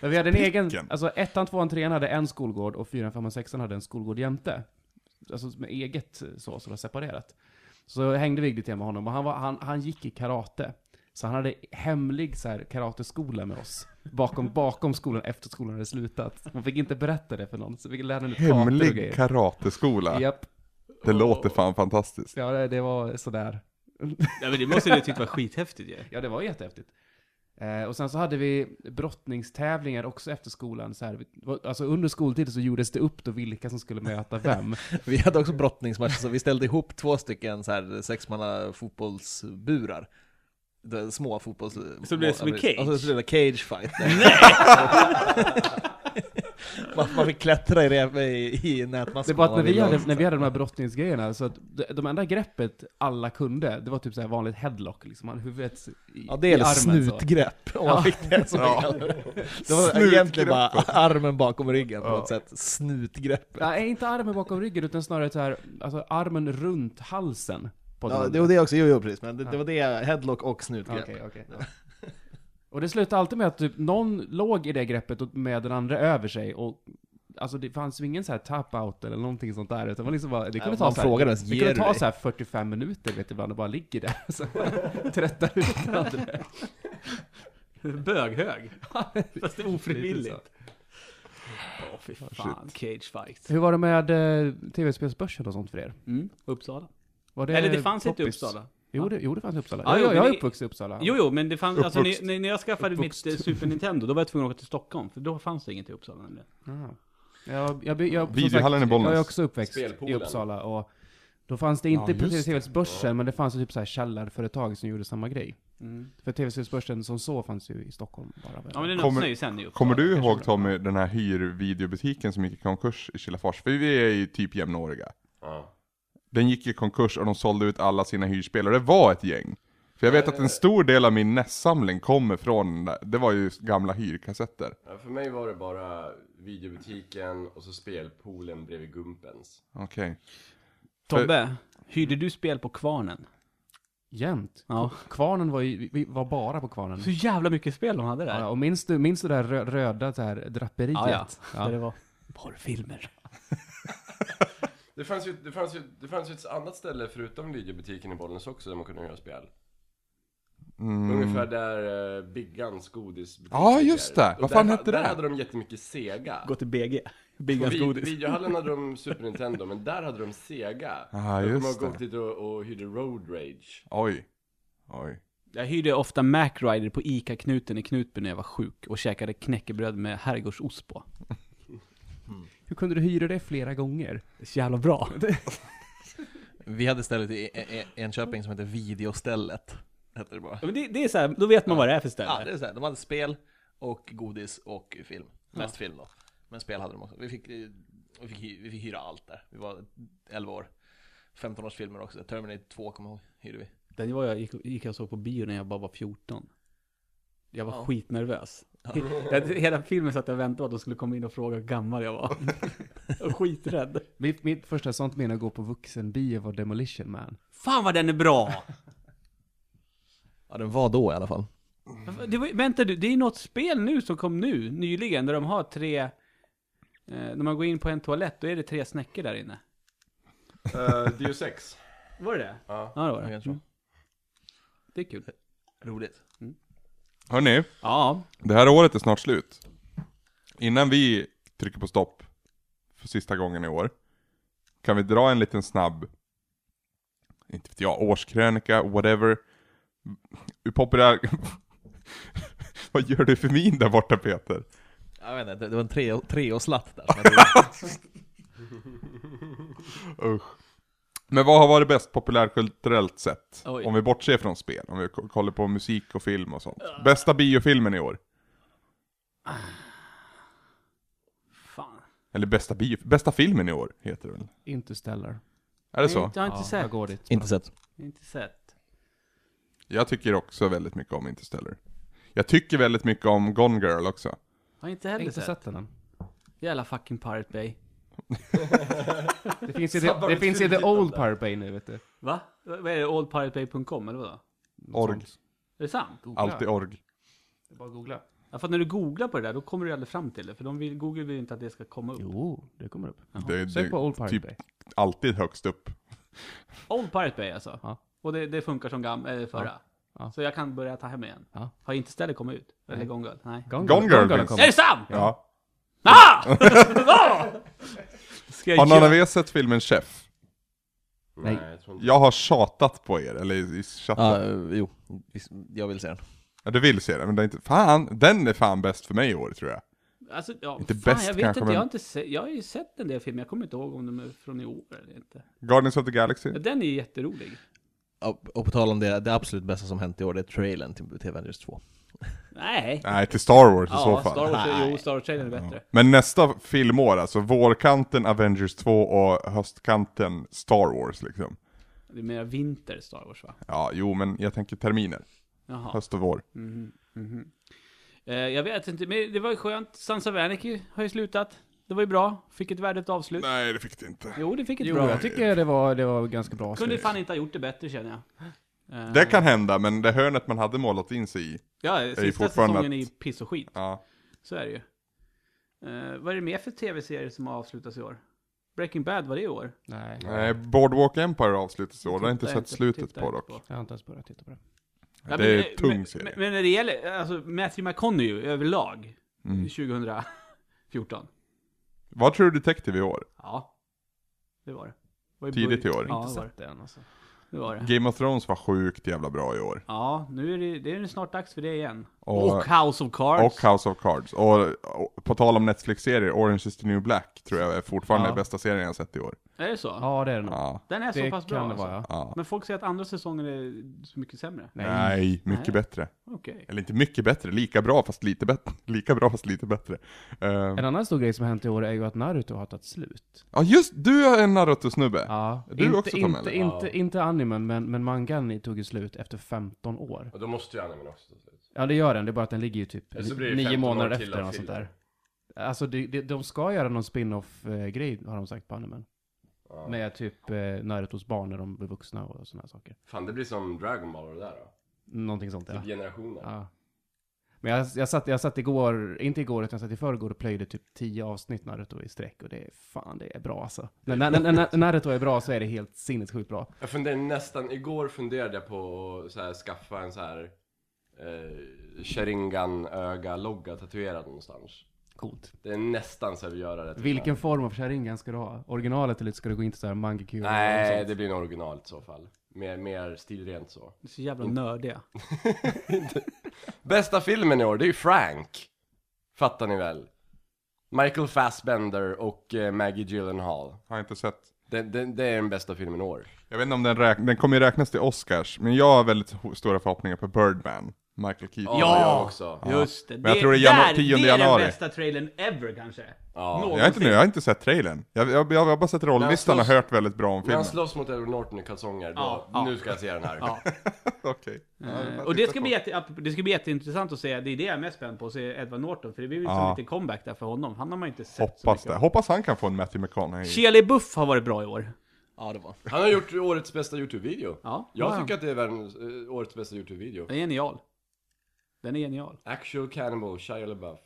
Speaker 3: men vi hade en egen,
Speaker 1: Picken.
Speaker 3: alltså ettan, tvåan, trean hade en skolgård och fyran, femman, sexan hade en skolgård jämte. Alltså med eget eh, så, som var separerat. Så hängde vi lite grann med honom och han, var, han, han gick i karate. Så han hade hemlig så här, karateskola med oss. Bakom, bakom skolan, efter skolan hade slutat. Man fick inte berätta det för någon, så vi lärde honom lite kartor och
Speaker 1: Hemlig
Speaker 3: grejer.
Speaker 1: karateskola.
Speaker 3: Japp.
Speaker 1: Det låter fan fantastiskt.
Speaker 3: Ja, det, det var sådär.
Speaker 2: Ja men det måste du tyckt var skithäftigt ju.
Speaker 3: Ja, det var jättehäftigt. Eh, och sen så hade vi brottningstävlingar också efter skolan. Så här, vi- alltså under skoltid så gjordes det upp då vilka som skulle möta vem.
Speaker 4: Vi hade också brottningsmatcher, så vi ställde ihop två stycken så här sexmanna fotbollsburar. Det- Små fotbolls...
Speaker 2: Så blev det som en cage?
Speaker 4: Och så blev det cage fight. man, man fick klättra i, rep- i, i nätmaskorna.
Speaker 3: Det var att
Speaker 4: om
Speaker 3: när
Speaker 4: man
Speaker 3: vi
Speaker 4: ville
Speaker 3: hade,
Speaker 4: också.
Speaker 3: när vi hade de här brottningsgrejerna, så att de, de enda greppet alla kunde, det var typ så här vanligt headlock, liksom. Man huvudet i,
Speaker 4: Ja det är
Speaker 3: i
Speaker 4: eller
Speaker 3: armen.
Speaker 4: snutgrepp, om
Speaker 3: Ja.
Speaker 4: man fick det som
Speaker 1: Ja.
Speaker 4: ja. Det var egentligen bara armen bakom ryggen på
Speaker 1: Ja.
Speaker 4: något sätt, snutgreppet.
Speaker 3: Så. Nej, inte armen bakom ryggen, utan snarare så här, alltså armen runt halsen. På den
Speaker 4: Ja, det
Speaker 3: andra.
Speaker 4: var det också, jo, jo precis, men det,
Speaker 3: Ja.
Speaker 4: det var det, headlock och snutgrepp.
Speaker 3: Okej, okej. Och det slutade alltid med att typ någon låg i det greppet och med den andra över sig och Alltså det fanns ju ingen så här tap-out eller någonting sånt där, utan det var liksom bara, det kunde
Speaker 4: Ja,
Speaker 3: ta
Speaker 4: man
Speaker 3: så här,
Speaker 4: frågade ens,
Speaker 3: Det
Speaker 4: "Ger
Speaker 3: kunde
Speaker 4: du
Speaker 3: ta
Speaker 4: dig?"
Speaker 3: så här 45 minuter vet du ibland och bara ligger där och så tröttar ut varandra.
Speaker 2: Böghög. Fast det är
Speaker 3: Lite
Speaker 2: ofrivilligt. Åh fy fan, cage fight.
Speaker 3: Hur var det med eh, tv-spelsbörsen och sånt för er?
Speaker 2: Mm. Uppsala.
Speaker 3: Var
Speaker 2: Eller det fanns inte i
Speaker 3: Eh, poppis?
Speaker 2: Uppsala.
Speaker 3: Jo det, jo, det fanns i Uppsala.
Speaker 2: Ja,
Speaker 3: Ja,
Speaker 2: jo,
Speaker 3: jag, jag
Speaker 2: men
Speaker 3: är
Speaker 2: det-
Speaker 3: uppvuxen i Uppsala.
Speaker 2: Jo, jo, men det fanns, alltså,
Speaker 1: Uppvuxt.
Speaker 2: när, när jag skaffade
Speaker 1: Uppvuxt.
Speaker 2: mitt eh, Super Nintendo, då var jag tvungen att åka till Stockholm, för då fanns det inget i Uppsala nämligen.
Speaker 3: Ah. Jag, jag, jag, som
Speaker 1: Videohallen
Speaker 3: sagt,
Speaker 1: i Bollnäs.
Speaker 3: Jag är också uppväxt
Speaker 5: Spelpoolen.
Speaker 3: i Uppsala och då fanns det inte
Speaker 1: Ja, just
Speaker 3: på TV-spelsbörsen, men det fanns ju typ så här källarföretag som gjorde samma grej.
Speaker 2: Mm.
Speaker 3: För TV-spelsbörsen som så fanns ju i Stockholm bara.
Speaker 2: Ja, men det
Speaker 1: Kommer-
Speaker 2: öppnade ju sen i Uppsala.
Speaker 1: Kommer du
Speaker 2: kanske.
Speaker 1: ihåg Tommy, den här hyrvideobutiken som gick i konkurs i Kilafors? För vi är ju typ jämnåriga.
Speaker 5: Ja.
Speaker 1: Den gick i konkurs och de sålde ut alla sina hyrspel och det var ett gäng. För jag vet att en stor del av min E nässamling kommer från, den där- det var ju gamla hyrkassetter.
Speaker 5: Ja, För mig var det bara videobutiken och så spelpoolen bredvid Gumpens.
Speaker 1: Okej.
Speaker 2: Tobbe, hyrde du spel på Kvarnen?
Speaker 3: Jämt.
Speaker 2: Ja.
Speaker 3: Kvarnen var ju, vi- vi var bara på Kvarnen.
Speaker 2: Så jävla mycket spel de hade där.
Speaker 3: Ja, och minns du, minns du det där rö- röda så här draperiet?
Speaker 2: Ja, ja. Där
Speaker 3: Ja.
Speaker 2: det var porrfilmer.
Speaker 5: Det fanns, ju, det, fanns ju, det fanns ju ett annat ställe förutom videobutiken i Bollnäs också där man kunde göra spel.
Speaker 1: Mm.
Speaker 5: Ungefär där eh, Biggans godisbutik
Speaker 1: Ja,
Speaker 5: ligger.
Speaker 1: just det.
Speaker 5: Och
Speaker 1: Vad fan
Speaker 5: där,
Speaker 1: hette
Speaker 5: där
Speaker 1: det?
Speaker 5: hade de jättemycket Sega.
Speaker 2: Gå till BG.
Speaker 5: På
Speaker 2: Biggans
Speaker 5: vi-
Speaker 2: godis.
Speaker 5: videohallen hade de Super Nintendo, men där hade de Sega.
Speaker 1: Ah,
Speaker 5: jag
Speaker 1: just
Speaker 5: kommer ihåg
Speaker 1: det.
Speaker 5: åkte dit och, och hyrde Road Rage.
Speaker 1: Oj. Oj.
Speaker 2: Jag hyrde ofta Macrider på ICA-knuten i Knutby när jag var sjuk och käkade knäckebröd med herrgårdsost på.
Speaker 3: Hur kunde du hyra det flera gånger?
Speaker 2: Det är så jävla bra.
Speaker 4: Vi hade stället i E- E- Enköping som hette Videostället. hette det bara.
Speaker 2: Ja, men det, det är så här, då vet man vad det är för ställe.
Speaker 4: Ja, det är så här. De hade spel och godis och film. Mest film då. Men spel hade de också. Vi fick, eh, vi fick, hy- vi fick hyra allt där. Vi var 11 år. 15-årsfilmer också. Terminator 2 kommer jag ihåg, hyrde vi.
Speaker 2: Den var jag gick, gick jag och såg på bio när jag bara var 14. Jag var
Speaker 4: Ja.
Speaker 2: skitnervös. Jag, hela filmen satt jag och väntade på att de skulle komma in och fråga hur gammal jag var. jag var skiträdd.
Speaker 3: Mitt, mitt första sånt minne att gå på vuxenbio var Demolition Man.
Speaker 2: Fan vad den är bra!
Speaker 4: Ja, den var då i alla fall.
Speaker 2: Det var, vänta du, det är något spel nu som kom nu, nyligen, där de har tre... Eh, när man går in på en toalett, då är det tre snäckor där inne.
Speaker 3: Eh,
Speaker 5: Uh, Deus Ex.
Speaker 2: Var det det?
Speaker 5: Ja.
Speaker 2: Ja, det var det.
Speaker 4: Kanske.
Speaker 2: Mm. Det är kul.
Speaker 4: Roligt.
Speaker 1: Hörni,
Speaker 2: Ja,
Speaker 1: det här året är snart slut. Innan vi trycker på stopp för sista gången i år, kan vi dra en liten snabb, inte vet jag, årskrönika, whatever. Hur populär... Vad gör du för min där borta Peter?
Speaker 4: Jag vet inte, det- det var en tre- treårslatt där. som jag drog.
Speaker 1: Men vad har varit bäst populärkulturellt sett?
Speaker 2: Oj.
Speaker 1: Om vi bortser från spel, om vi k- kollar på musik och film och sånt. Bästa biofilmen i år?
Speaker 2: fan.
Speaker 1: Eller bästa bio, bästa filmen i år heter det väl?
Speaker 3: Interstellar.
Speaker 1: Är det så?
Speaker 2: Jag har inte sett.
Speaker 3: jag går dit.
Speaker 4: Inte sett.
Speaker 2: Jag har inte sett.
Speaker 1: Jag tycker också väldigt mycket om Interstellar. Jag tycker väldigt mycket om Gone Girl också.
Speaker 2: Jag har inte
Speaker 3: Jag har
Speaker 2: heller
Speaker 3: inte
Speaker 2: sett.
Speaker 3: sett den än.
Speaker 2: Jävla fucking Pirate Bay.
Speaker 3: Det finns ju, det, det finns ju The Old Pirate Bay nu, vet du.
Speaker 2: Va? Vad vad är det? Oldpiratebay.com eller vadå? Är
Speaker 1: Org.
Speaker 2: det sant?
Speaker 3: Googla.
Speaker 1: Alltid org.
Speaker 3: Det är Bara att googla.
Speaker 2: Ja, för att när du googlar på det där, då kommer du aldrig fram till det. För de vill, Google vill inte att det ska komma upp.
Speaker 3: Jo, det kommer upp.
Speaker 1: Det är
Speaker 3: Sök
Speaker 1: det,
Speaker 3: på Old Pirate
Speaker 1: typ-
Speaker 3: Bay.
Speaker 1: alltid högst upp.
Speaker 2: Old Pirate Bay alltså.
Speaker 3: Ja.
Speaker 2: Och det, det funkar som gam, äh, förra.
Speaker 3: Ja.
Speaker 2: Så jag kan börja ta hem igen.
Speaker 3: Ja.
Speaker 2: Har inte stället kommit ut? Eller Gone Girl? Nej.
Speaker 1: Gone Girl finns.
Speaker 2: Är
Speaker 3: har
Speaker 2: det
Speaker 3: kommit.
Speaker 2: sant?
Speaker 1: Ja.
Speaker 2: Ah! Ah! Ska
Speaker 1: Har
Speaker 2: jag
Speaker 1: någon av
Speaker 2: göra?
Speaker 1: er sett filmen Chef?
Speaker 5: Nej.
Speaker 3: Nej.
Speaker 5: jag tror inte.
Speaker 1: Jag har tjatat på er, eller i, i chatten.
Speaker 4: Ja, jo. Visst, Jag vill se den.
Speaker 1: Ja, du vill se den, men det är inte... Fan, den är fan bäst för mig i år tror jag.
Speaker 2: Alltså, ja,
Speaker 1: Inte
Speaker 2: fan,
Speaker 1: bäst
Speaker 2: jag vet
Speaker 1: kanske,
Speaker 2: inte.
Speaker 1: men-
Speaker 2: Jag, har inte se... jag har ju sett en del filmer. Jag kommer inte ihåg om de är från i år eller inte.
Speaker 1: Guardians of the Galaxy.
Speaker 2: Ja, Den är ju jätterolig.
Speaker 4: Och, och på tal om det, det absolut bästa som hänt i år, det är trailern till, till Avengers 2.
Speaker 2: Nej.
Speaker 1: Nej, till Star Wars i så fall.
Speaker 2: Star Wars, jo, Star Wars-trailern är bättre.
Speaker 1: Men nästa filmår, alltså vårkanten Avengers 2 och höstkanten Star Wars liksom.
Speaker 2: Det är mer vinter Star Wars va?
Speaker 1: Ja, jo men jag tänker terminer.
Speaker 2: Jaha.
Speaker 1: Höst och vår.
Speaker 2: Mhm, mhm. Eh, jag vet inte, men det var ju skönt. Sons of Anarchy har ju slutat. Det var ju bra. Fick ett värdigt avslut.
Speaker 1: Nej, det fick det inte.
Speaker 2: Jo, det fick ett
Speaker 3: Jo,
Speaker 2: bra.
Speaker 3: jag tycker det var, det var ganska bra.
Speaker 2: Kunde
Speaker 3: slut.
Speaker 2: fan inte ha gjort det bättre känner jag. Eh,
Speaker 1: Det kan hända, men det hörnet man hade målat in sig i.
Speaker 2: Ja,
Speaker 1: ju
Speaker 2: sista
Speaker 1: fortfarande
Speaker 2: säsongen är ju
Speaker 1: att-
Speaker 2: piss och skit.
Speaker 1: Ja.
Speaker 2: Så är det ju. Eh, vad är det mer för tv-serier som har avslutats i år? Breaking Bad var det i år?
Speaker 3: Nej,
Speaker 1: Nej, Eh, Boardwalk Empire avslutas i år. Det har jag inte
Speaker 2: Tittar jag
Speaker 1: sett slutet
Speaker 2: tittar jag
Speaker 1: på
Speaker 2: inte
Speaker 1: dock.
Speaker 3: jag har inte ens börjat titta på det.
Speaker 2: Ja,
Speaker 1: det är
Speaker 2: men-
Speaker 1: en tung
Speaker 2: men,
Speaker 1: serie.
Speaker 2: Men, men när det gäller, alltså Matthew McConaughey överlag,
Speaker 1: Mm.
Speaker 2: 2014.
Speaker 1: Vad tror du Detective i år?
Speaker 2: Ja, det var det. det var
Speaker 1: Tidigt i år.
Speaker 2: Ja, det
Speaker 3: inte
Speaker 2: var det.
Speaker 3: sett det än alltså.
Speaker 2: det var det.
Speaker 1: Game of Thrones var sjukt jävla bra i år.
Speaker 2: Ja, nu är det, det är snart dags för det igen.
Speaker 1: Och- eh,
Speaker 2: Och, House of Cards.
Speaker 1: Och House of Cards. Och, och på tal om Netflix-serier, Orange is the New Black tror jag är fortfarande
Speaker 3: Ja. Mm.
Speaker 1: bästa serien jag sett i år.
Speaker 2: Är det så?
Speaker 3: Ja, det är det nog.
Speaker 1: Ja.
Speaker 2: Den är så
Speaker 3: Det
Speaker 2: pass
Speaker 3: kan
Speaker 2: bra
Speaker 3: det vara,
Speaker 2: alltså.
Speaker 3: ja.
Speaker 1: ja.
Speaker 2: Men folk säger att andra säsongen är så mycket sämre.
Speaker 1: Nej.
Speaker 3: Nej.
Speaker 1: mycket
Speaker 2: Nej.
Speaker 1: bättre.
Speaker 2: Okej.
Speaker 1: Eller inte mycket bättre, lika bra fast lite bättre. Lika bra fast lite bättre. Ehm,
Speaker 3: En annan stor grej som har hänt i år är ju att Naruto har tagit slut.
Speaker 1: Ja just, du är en Naruto-snubbe.
Speaker 3: Ja.
Speaker 1: Du
Speaker 3: inte,
Speaker 1: också, Tom, eller?
Speaker 3: inte, inte, inte animen, men, men mangan tog ju slut efter 15 år.
Speaker 5: Och då måste ju animen också ta slut.
Speaker 3: Ja, det gör den. Det är bara att den ligger ju typ
Speaker 5: Eller så blir det
Speaker 3: nio
Speaker 5: 15 år
Speaker 3: månader
Speaker 5: till
Speaker 3: efter
Speaker 5: av
Speaker 3: eller något sånt
Speaker 5: filler.
Speaker 3: där. Alltså, det, det, de ska göra någon spin-off-grej, har de sagt på animen. Med typ eh, Narutos barn när de blir vuxna och sådana här saker.
Speaker 5: Fan det blir som Dragon Ball och det där då.
Speaker 3: Någonting sånt, ja.
Speaker 5: Typ generationer.
Speaker 3: ja. Men jag, jag, satt, jag satt igår, inte igår utan jag satt i förrgår och plöjde typ 10 avsnitt Naruto i sträck och det är fan, det är bra alltså. När, när, när, när Naruto är bra så är det helt sinnessjukt bra.
Speaker 5: Jag funderade nästan, igår funderade jag på att så här, skaffa en så här eh, Sharingan-öga-logga tatuerad någonstans.
Speaker 3: Coolt.
Speaker 5: Det är nästan så jag vill göra det. typ.
Speaker 3: Vilken form av sharingan ska du ha? Originalet eller ska du gå in till såhär mangekyu?
Speaker 5: Nej, det blir en original i så fall. Mer, mer stilrent så.
Speaker 2: Det är så
Speaker 1: Mm.
Speaker 2: jävla nördiga.
Speaker 5: Bästa filmen i år, det är ju Frank. Fattar ni väl? Michael Fassbender och eh, Maggie Gyllenhaal.
Speaker 1: Har jag inte sett.
Speaker 5: Den, den, det är den bästa filmen i år.
Speaker 1: Jag vet inte om den räknas, den kommer ju räknas till Oscars, men jag har väldigt ho- stora förhoppningar på Birdman, Michael Keaton.
Speaker 2: Ja.
Speaker 5: Jag också.
Speaker 2: Just det.
Speaker 1: Men jag tror det är janu- 10
Speaker 2: det är
Speaker 1: januari.
Speaker 2: den bästa trailern ever kanske.
Speaker 5: Ja.
Speaker 1: Jag, är inte, nu, jag har inte sett trailern, jag, jag, jag har bara sett rolllistan och
Speaker 5: slåss-
Speaker 1: hört väldigt bra om
Speaker 5: När
Speaker 1: filmen.
Speaker 5: han slåss mot Edward Norton i kalsonger, då,
Speaker 2: Ja, ja.
Speaker 5: nu ska jag se den här.
Speaker 2: Ja.
Speaker 1: Okej.
Speaker 2: Eh, Och det ska, bli jätte, ap- det ska bli jätteintressant att se, det är det jag är mest spänd på, att se Edward Norton. För det blir ju som
Speaker 1: Ja.
Speaker 2: en liten comeback där för honom. Han har man ju inte sett
Speaker 1: Hoppas
Speaker 2: så
Speaker 1: det.
Speaker 2: mycket.
Speaker 1: Hoppas han kan få en Matthew McConaughey.
Speaker 2: Shirley Buff har varit bra i år.
Speaker 4: Ja, det var.
Speaker 5: Han har gjort årets bästa YouTube-video.
Speaker 2: Ja,
Speaker 5: Jag
Speaker 2: ja, ja.
Speaker 5: tycker att det är världens, eh, årets bästa YouTube-video.
Speaker 2: Den är genial. Den är genial.
Speaker 5: Actual Cannibal, Shia LaBeouf.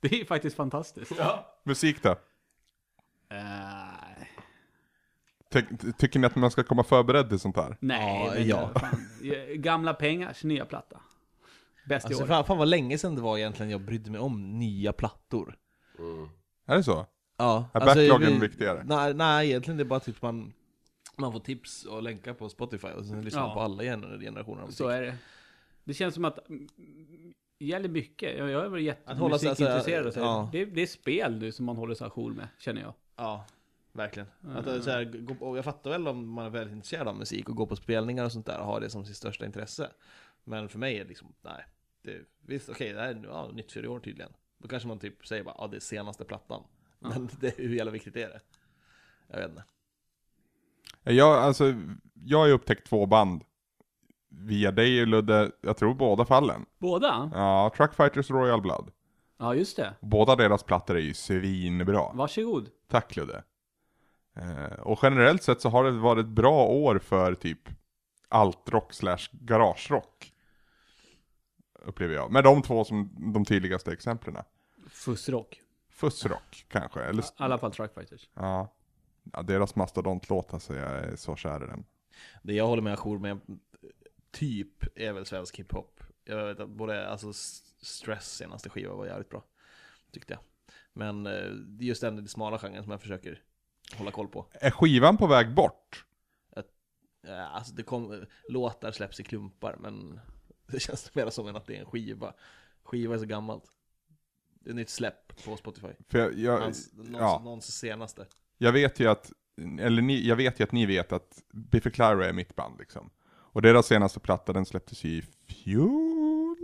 Speaker 2: Det är ju faktiskt fantastiskt.
Speaker 1: Musik då?
Speaker 2: Eh,
Speaker 1: Ty- tycker ni att man ska komma förberedd till sånt här?
Speaker 2: nej,
Speaker 4: Ja,
Speaker 2: men
Speaker 4: ja.
Speaker 2: fan. Eh, Gamla pengars nya platta. Bäst i
Speaker 4: Alltså,
Speaker 2: år.
Speaker 4: fan, fan vad länge sedan det var egentligen jag brydde mig om nya plattor.
Speaker 1: Är det så?
Speaker 4: Ja,
Speaker 1: Är backlogen viktigare?
Speaker 4: Nej, nej, egentligen det är bara typ man, man får tips och länkar på Spotify och sen lyssnar man
Speaker 2: Ja.
Speaker 4: på alla gener- generationer av musik.
Speaker 2: Så är det. Det känns som att mm, det gäller mycket. Jag jag är väl
Speaker 4: Att hålla sig-
Speaker 2: jättemusikintresserad och så. här.
Speaker 4: ja.
Speaker 2: Det, det är spel nu som man håller sig ajour med, känner jag.
Speaker 4: Ja, verkligen. Att, det är så här, gå- och jag fattar väl om man är väldigt intresserad av musik och går på spelningar och sånt där och har det som sitt största intresse. Men för mig är det liksom, nej. Det, visst, okej, det här är ja, nytt för i år tydligen. Då kanske man typ säger bara, ja det är senaste plattan. Men det, hur jävla viktigt är det? Jag vet inte.
Speaker 1: Jag, alltså, jag har ju upptäckt två band via dig Ludde, jag tror båda fallen.
Speaker 2: Båda?
Speaker 1: Ja, Truckfighters och Royal Blood.
Speaker 2: Ja, just det.
Speaker 1: Båda deras plattor är ju svinbra.
Speaker 2: Varsågod.
Speaker 1: Tack Ludde. Eh, och generellt sett så har det varit ett bra år för typ altrock slash garagerock. Upplever jag. Med de två som de tydligaste exemplen.
Speaker 2: Fussrock.
Speaker 1: Fussrock kanske, eller?
Speaker 2: I alla fall Truckfighters.
Speaker 4: Alltså,
Speaker 1: Ja. ja deras mastodontlåt alltså, jag är så kär i den.
Speaker 4: Det jag håller med ajour med, typ, är väl svensk hiphop. Jag vet att både, alltså S- Stress senaste skiva var jävligt bra. Tyckte jag. Men eh, det är just den smala genren som jag försöker hålla koll på.
Speaker 1: Är skivan på väg bort?
Speaker 4: Ja, Alltså det kom, låtar släpps i klumpar men det känns mer som än att det är en skiva. Skiva är så gammalt. Det är nytt släpp på Spotify.
Speaker 1: För jag, jag,
Speaker 4: Hans, någons,
Speaker 1: ja.
Speaker 4: någons senaste.
Speaker 1: jag vet ju att, eller ni, jag vet ju att ni vet att Biffy Clyro är mitt band liksom. Och deras senaste platta den släpptes ju i fjol,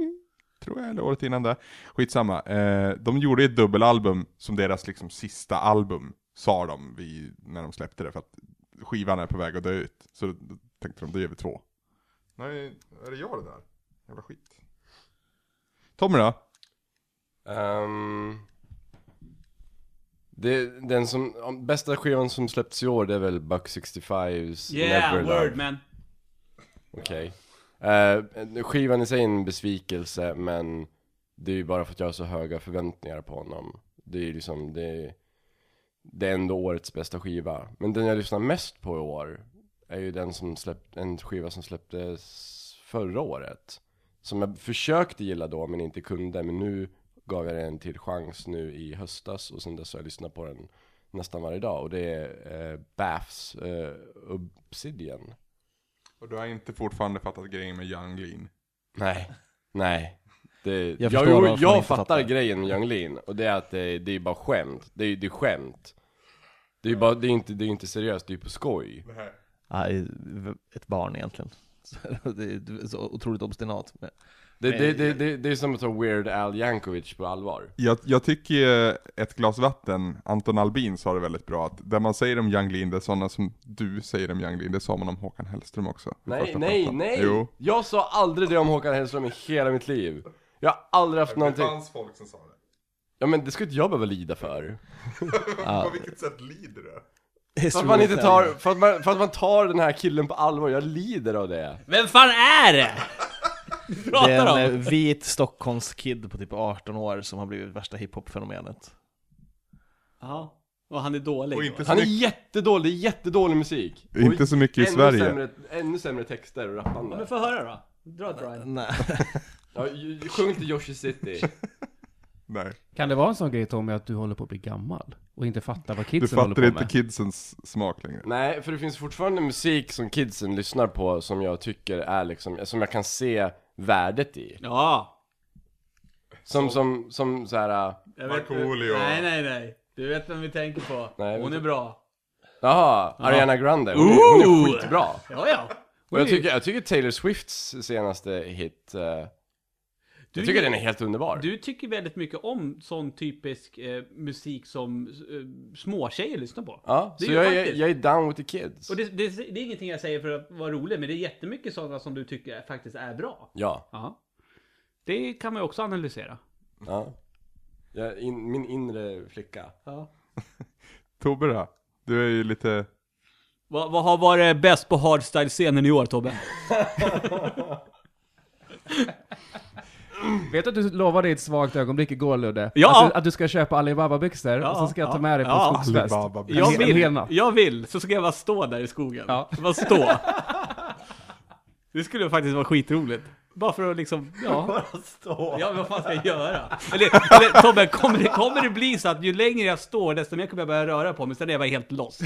Speaker 1: tror jag, eller året innan det. Skitsamma. Eh, de gjorde ju ett dubbelalbum som deras liksom sista album, sa de vid, när de släppte det, för att skivan är på väg att dö ut. Så då tänkte de, då ger vi två. Nej, är det jag det där? Jävla skit. Tommy då?
Speaker 5: Ehm, det, den som, om- bästa skivan som släppts i år det är väl Buck 65's
Speaker 2: Yeah,
Speaker 5: Never Love.
Speaker 2: word man.
Speaker 5: Okej. Eh, skivan i sig är en besvikelse men det är ju bara för att jag har så höga förväntningar på honom. Det är ju liksom, det är, det är ändå årets bästa skiva. Men den jag lyssnar mest på i år är ju den som släpp, en skiva som släpptes förra året. Som jag försökte gilla då men inte kunde. Men nu gav jag den en till chans nu i höstas och sen dess har jag lyssnat på den nästan varje dag. Och det är eh, Baths eh, Obsidian.
Speaker 1: Och du har inte fortfarande fattat grejen med Young Lean.
Speaker 5: Nej, nej. Det, jag
Speaker 4: Jag förstår
Speaker 5: jag,
Speaker 4: varför man inte
Speaker 5: fattar,
Speaker 4: fattar.
Speaker 5: grejen med Younglin och det är att det, det är bara skämt. Det är, det är skämt. Det är bara, det är inte, det är inte seriöst, det är på skoj.
Speaker 4: Ja, ett barn egentligen. det är så otroligt obstinat. Men
Speaker 5: Det, det, det, det, det är som att ta Weird Al Yankovic på allvar.
Speaker 1: Jag, jag tycker ju ett glas vatten, Anton Albin sa det väldigt bra, att det man säger om Young Lean, det är sådana som du säger om Young Lean, det sa man om Håkan Hellström också. i
Speaker 5: Nej,
Speaker 1: första
Speaker 5: nej,
Speaker 1: plattan.
Speaker 5: nej!
Speaker 1: Jo.
Speaker 5: Jag sa aldrig det om Håkan Hellström i hela mitt liv. Jag har aldrig haft någonting...
Speaker 1: folk som sa det.
Speaker 5: Ja men det skulle inte jag behöva lida för.
Speaker 1: På vilket sätt lider du?
Speaker 5: För att man inte tar, för att man, för att man tar den här killen på allvar, jag lider av det.
Speaker 2: Vem fan är det?
Speaker 4: Det
Speaker 2: Pratar
Speaker 4: är en
Speaker 2: om?
Speaker 4: eh, vit Stockholmskid på typ 18 år som har blivit värsta hiphop-fenomenet.
Speaker 2: Ja. Och han är dålig.
Speaker 1: Och inte
Speaker 5: Han är jättedålig, det är jättedålig musik. Och
Speaker 1: Inte så mycket i
Speaker 5: ännu
Speaker 1: Sverige.
Speaker 5: Sämre, ännu sämre texter och rappande.
Speaker 2: Men få höra då. Dra ett Brian.
Speaker 4: Nej.
Speaker 5: Ja, ju- ju- sjung till Yoshi City.
Speaker 1: Nej.
Speaker 3: Kan det vara en sån grej Tommy att du håller på att bli gammal? Och inte fattar vad
Speaker 1: Du
Speaker 3: kidsen håller
Speaker 1: fattar
Speaker 3: på
Speaker 1: inte
Speaker 3: med?
Speaker 1: kidsens smak längre.
Speaker 5: Nej, för det finns fortfarande musik som kidsen lyssnar på som jag tycker är liksom, som jag kan se värdet i.
Speaker 2: Ja.
Speaker 5: Som, äh, som, som såhär,
Speaker 2: Jag vet-
Speaker 1: Markoolio.
Speaker 2: Nej, nej, nej. Du vet vem vi tänker på.
Speaker 5: Nej,
Speaker 2: Hon
Speaker 5: men-
Speaker 2: är bra.
Speaker 5: Jaha, Ariana Grande. Hon är, hon är skitbra.
Speaker 2: Ja, ja.
Speaker 5: Och jag tycker, jag tycker Taylor Swifts senaste hit, eh, jag tycker den är helt underbar.
Speaker 2: Du tycker väldigt mycket om sån typisk eh, musik som eh, småtjejer lyssnar på.
Speaker 5: ja,
Speaker 2: det
Speaker 5: så
Speaker 2: är ju
Speaker 5: jag, är-
Speaker 2: faktiskt-
Speaker 5: jag är down with the kids.
Speaker 2: Och det, det, det är ingenting jag säger för att vara rolig, men det är jättemycket sådana som du tycker faktiskt är bra.
Speaker 5: Ja,
Speaker 2: Ja. Det kan man ju också analysera.
Speaker 5: ja. Jag, in, min inre flicka.
Speaker 2: Ja.
Speaker 1: Tobbe då? Du är ju lite...
Speaker 2: Vad, vad har varit bäst på hardstyle-scenen i år, Tobbe?
Speaker 3: Vet du att du lovade i ett svagt ögonblick igår Ludde?
Speaker 2: Ja!
Speaker 3: Att, du, att du ska köpa Alibaba-byxor
Speaker 2: Ja,
Speaker 3: och sen ska jag ta
Speaker 2: ja,
Speaker 3: med dig på
Speaker 2: ja.
Speaker 3: skogsfest.
Speaker 1: Alibaba.
Speaker 3: En
Speaker 2: Jag
Speaker 3: hel- en hel
Speaker 2: vill,
Speaker 3: natt.
Speaker 2: jag vill, så ska jag bara stå där i skogen.
Speaker 3: Ja.
Speaker 2: Bara stå. Det skulle faktiskt vara skitroligt. Bara för att liksom, ja. Bara stå. Ja, men vad fan ska jag göra? Eller, eller Tobbe, kommer det, kommer det bli så att ju längre jag står, desto mer kommer jag börja röra på mig, sen är jag bara helt loss.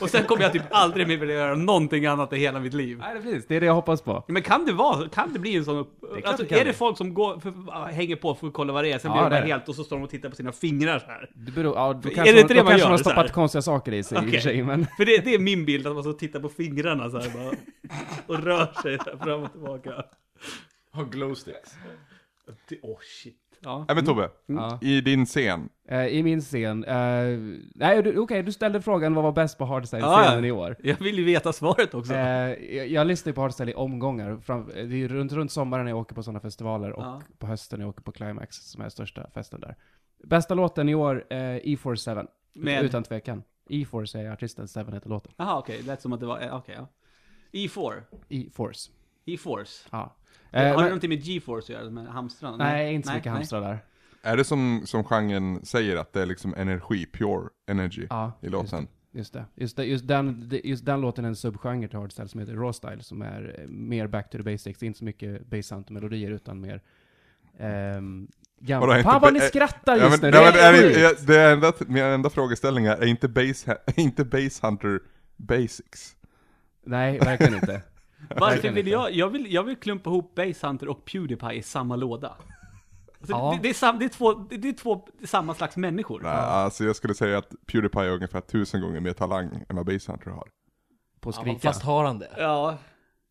Speaker 2: Och sen kommer jag typ aldrig mer vilja göra någonting annat i hela mitt liv.
Speaker 3: Nej, det, finns. det är det jag hoppas på.
Speaker 2: Ja, Men kan det vara, kan det bli en sån upp...
Speaker 3: klart
Speaker 2: alltså,
Speaker 3: det kan
Speaker 2: är det
Speaker 3: bli.
Speaker 2: folk som går, för, ah, hänger på för att kolla vad det är, sen
Speaker 3: Ja,
Speaker 2: blir de
Speaker 3: det är
Speaker 2: bara
Speaker 3: det.
Speaker 2: helt och så står de och tittar på sina fingrar så här.
Speaker 3: Det beror, ja, då
Speaker 2: Är det
Speaker 3: kanske, det
Speaker 2: inte det
Speaker 3: då
Speaker 2: man
Speaker 3: kanske de
Speaker 2: gör,
Speaker 3: har
Speaker 2: så här?
Speaker 3: stoppat konstiga saker i sig i och för
Speaker 2: Okej.
Speaker 3: sig, men...
Speaker 2: För det, det är min bild, att man så tittar på fingrarna så här bara, och rör sig där fram och tillbaka.
Speaker 5: Har glowsticks.
Speaker 2: Det- Åh oh, shit. Ja.
Speaker 3: Mm.
Speaker 1: Nej men Tobbe,
Speaker 3: Ja.
Speaker 1: i din scen.
Speaker 3: Eh, I min scen, eh, nej du- okej du ställde frågan vad var bäst på
Speaker 2: Ja,
Speaker 3: hardstyle-scenen
Speaker 2: ja.
Speaker 3: i år?
Speaker 2: Jag vill ju veta svaret också.
Speaker 3: Eh, jag, jag lyssnar ju på hardstyle i omgångar, fram, eh, det är ju runt, runt sommaren när jag åker på sådana festivaler och
Speaker 2: Ja.
Speaker 3: på hösten när jag åker på Climax som är största festen där. Bästa låten i år, eh, E47,
Speaker 2: Med-
Speaker 3: utan tvekan. E-Force är artisten, Seven heter låten.
Speaker 2: Jaha okej, det lät som att det var, eh, okej ja. E E4.
Speaker 3: E-Force.
Speaker 2: E-force.
Speaker 3: E Ja.
Speaker 2: har
Speaker 3: Eh,
Speaker 2: det
Speaker 3: men,
Speaker 2: någonting med G-force att göra? Med hamstrarna?
Speaker 3: nej, inte så
Speaker 2: nej,
Speaker 3: mycket
Speaker 2: nej.
Speaker 3: hamstrar där.
Speaker 1: Är det som, som genren säger, att det är liksom energi, pure energy
Speaker 3: Ja,
Speaker 1: i låten?
Speaker 3: Just det. Just, det, just, den, det- just den låten är en subgenre till hardstyle som heter raw style, som är eh, mer back to the basics. Inte så mycket basant och melodier, utan mer... Um,
Speaker 1: Vadå, är
Speaker 3: gamla...
Speaker 1: inte
Speaker 3: Fan vad ni
Speaker 1: ba- eh,
Speaker 3: skrattar
Speaker 1: Ja, men,
Speaker 3: just nu!
Speaker 1: nej, men
Speaker 3: det
Speaker 1: är
Speaker 3: är
Speaker 1: det,
Speaker 3: sjukt.
Speaker 1: ja, det är enda, min enda frågeställning är, är inte Base, är inte base Hunter Basics?
Speaker 3: Nej, verkligen inte.
Speaker 2: Varför
Speaker 3: Verkligen
Speaker 2: vill
Speaker 3: inte.
Speaker 2: jag, jag vill, jag vill klumpa ihop Basehunter och Pewdiepie i samma låda. Alltså,
Speaker 3: Ja.
Speaker 2: det, det, är sam, det, är två, det, det är två samma slags människor.
Speaker 1: Nej, alltså jag skulle säga att Pewdiepie har ungefär tusen gånger mer talang än vad Base Hunter har.
Speaker 3: På att skrika.
Speaker 4: Fast har han det?
Speaker 2: Ja,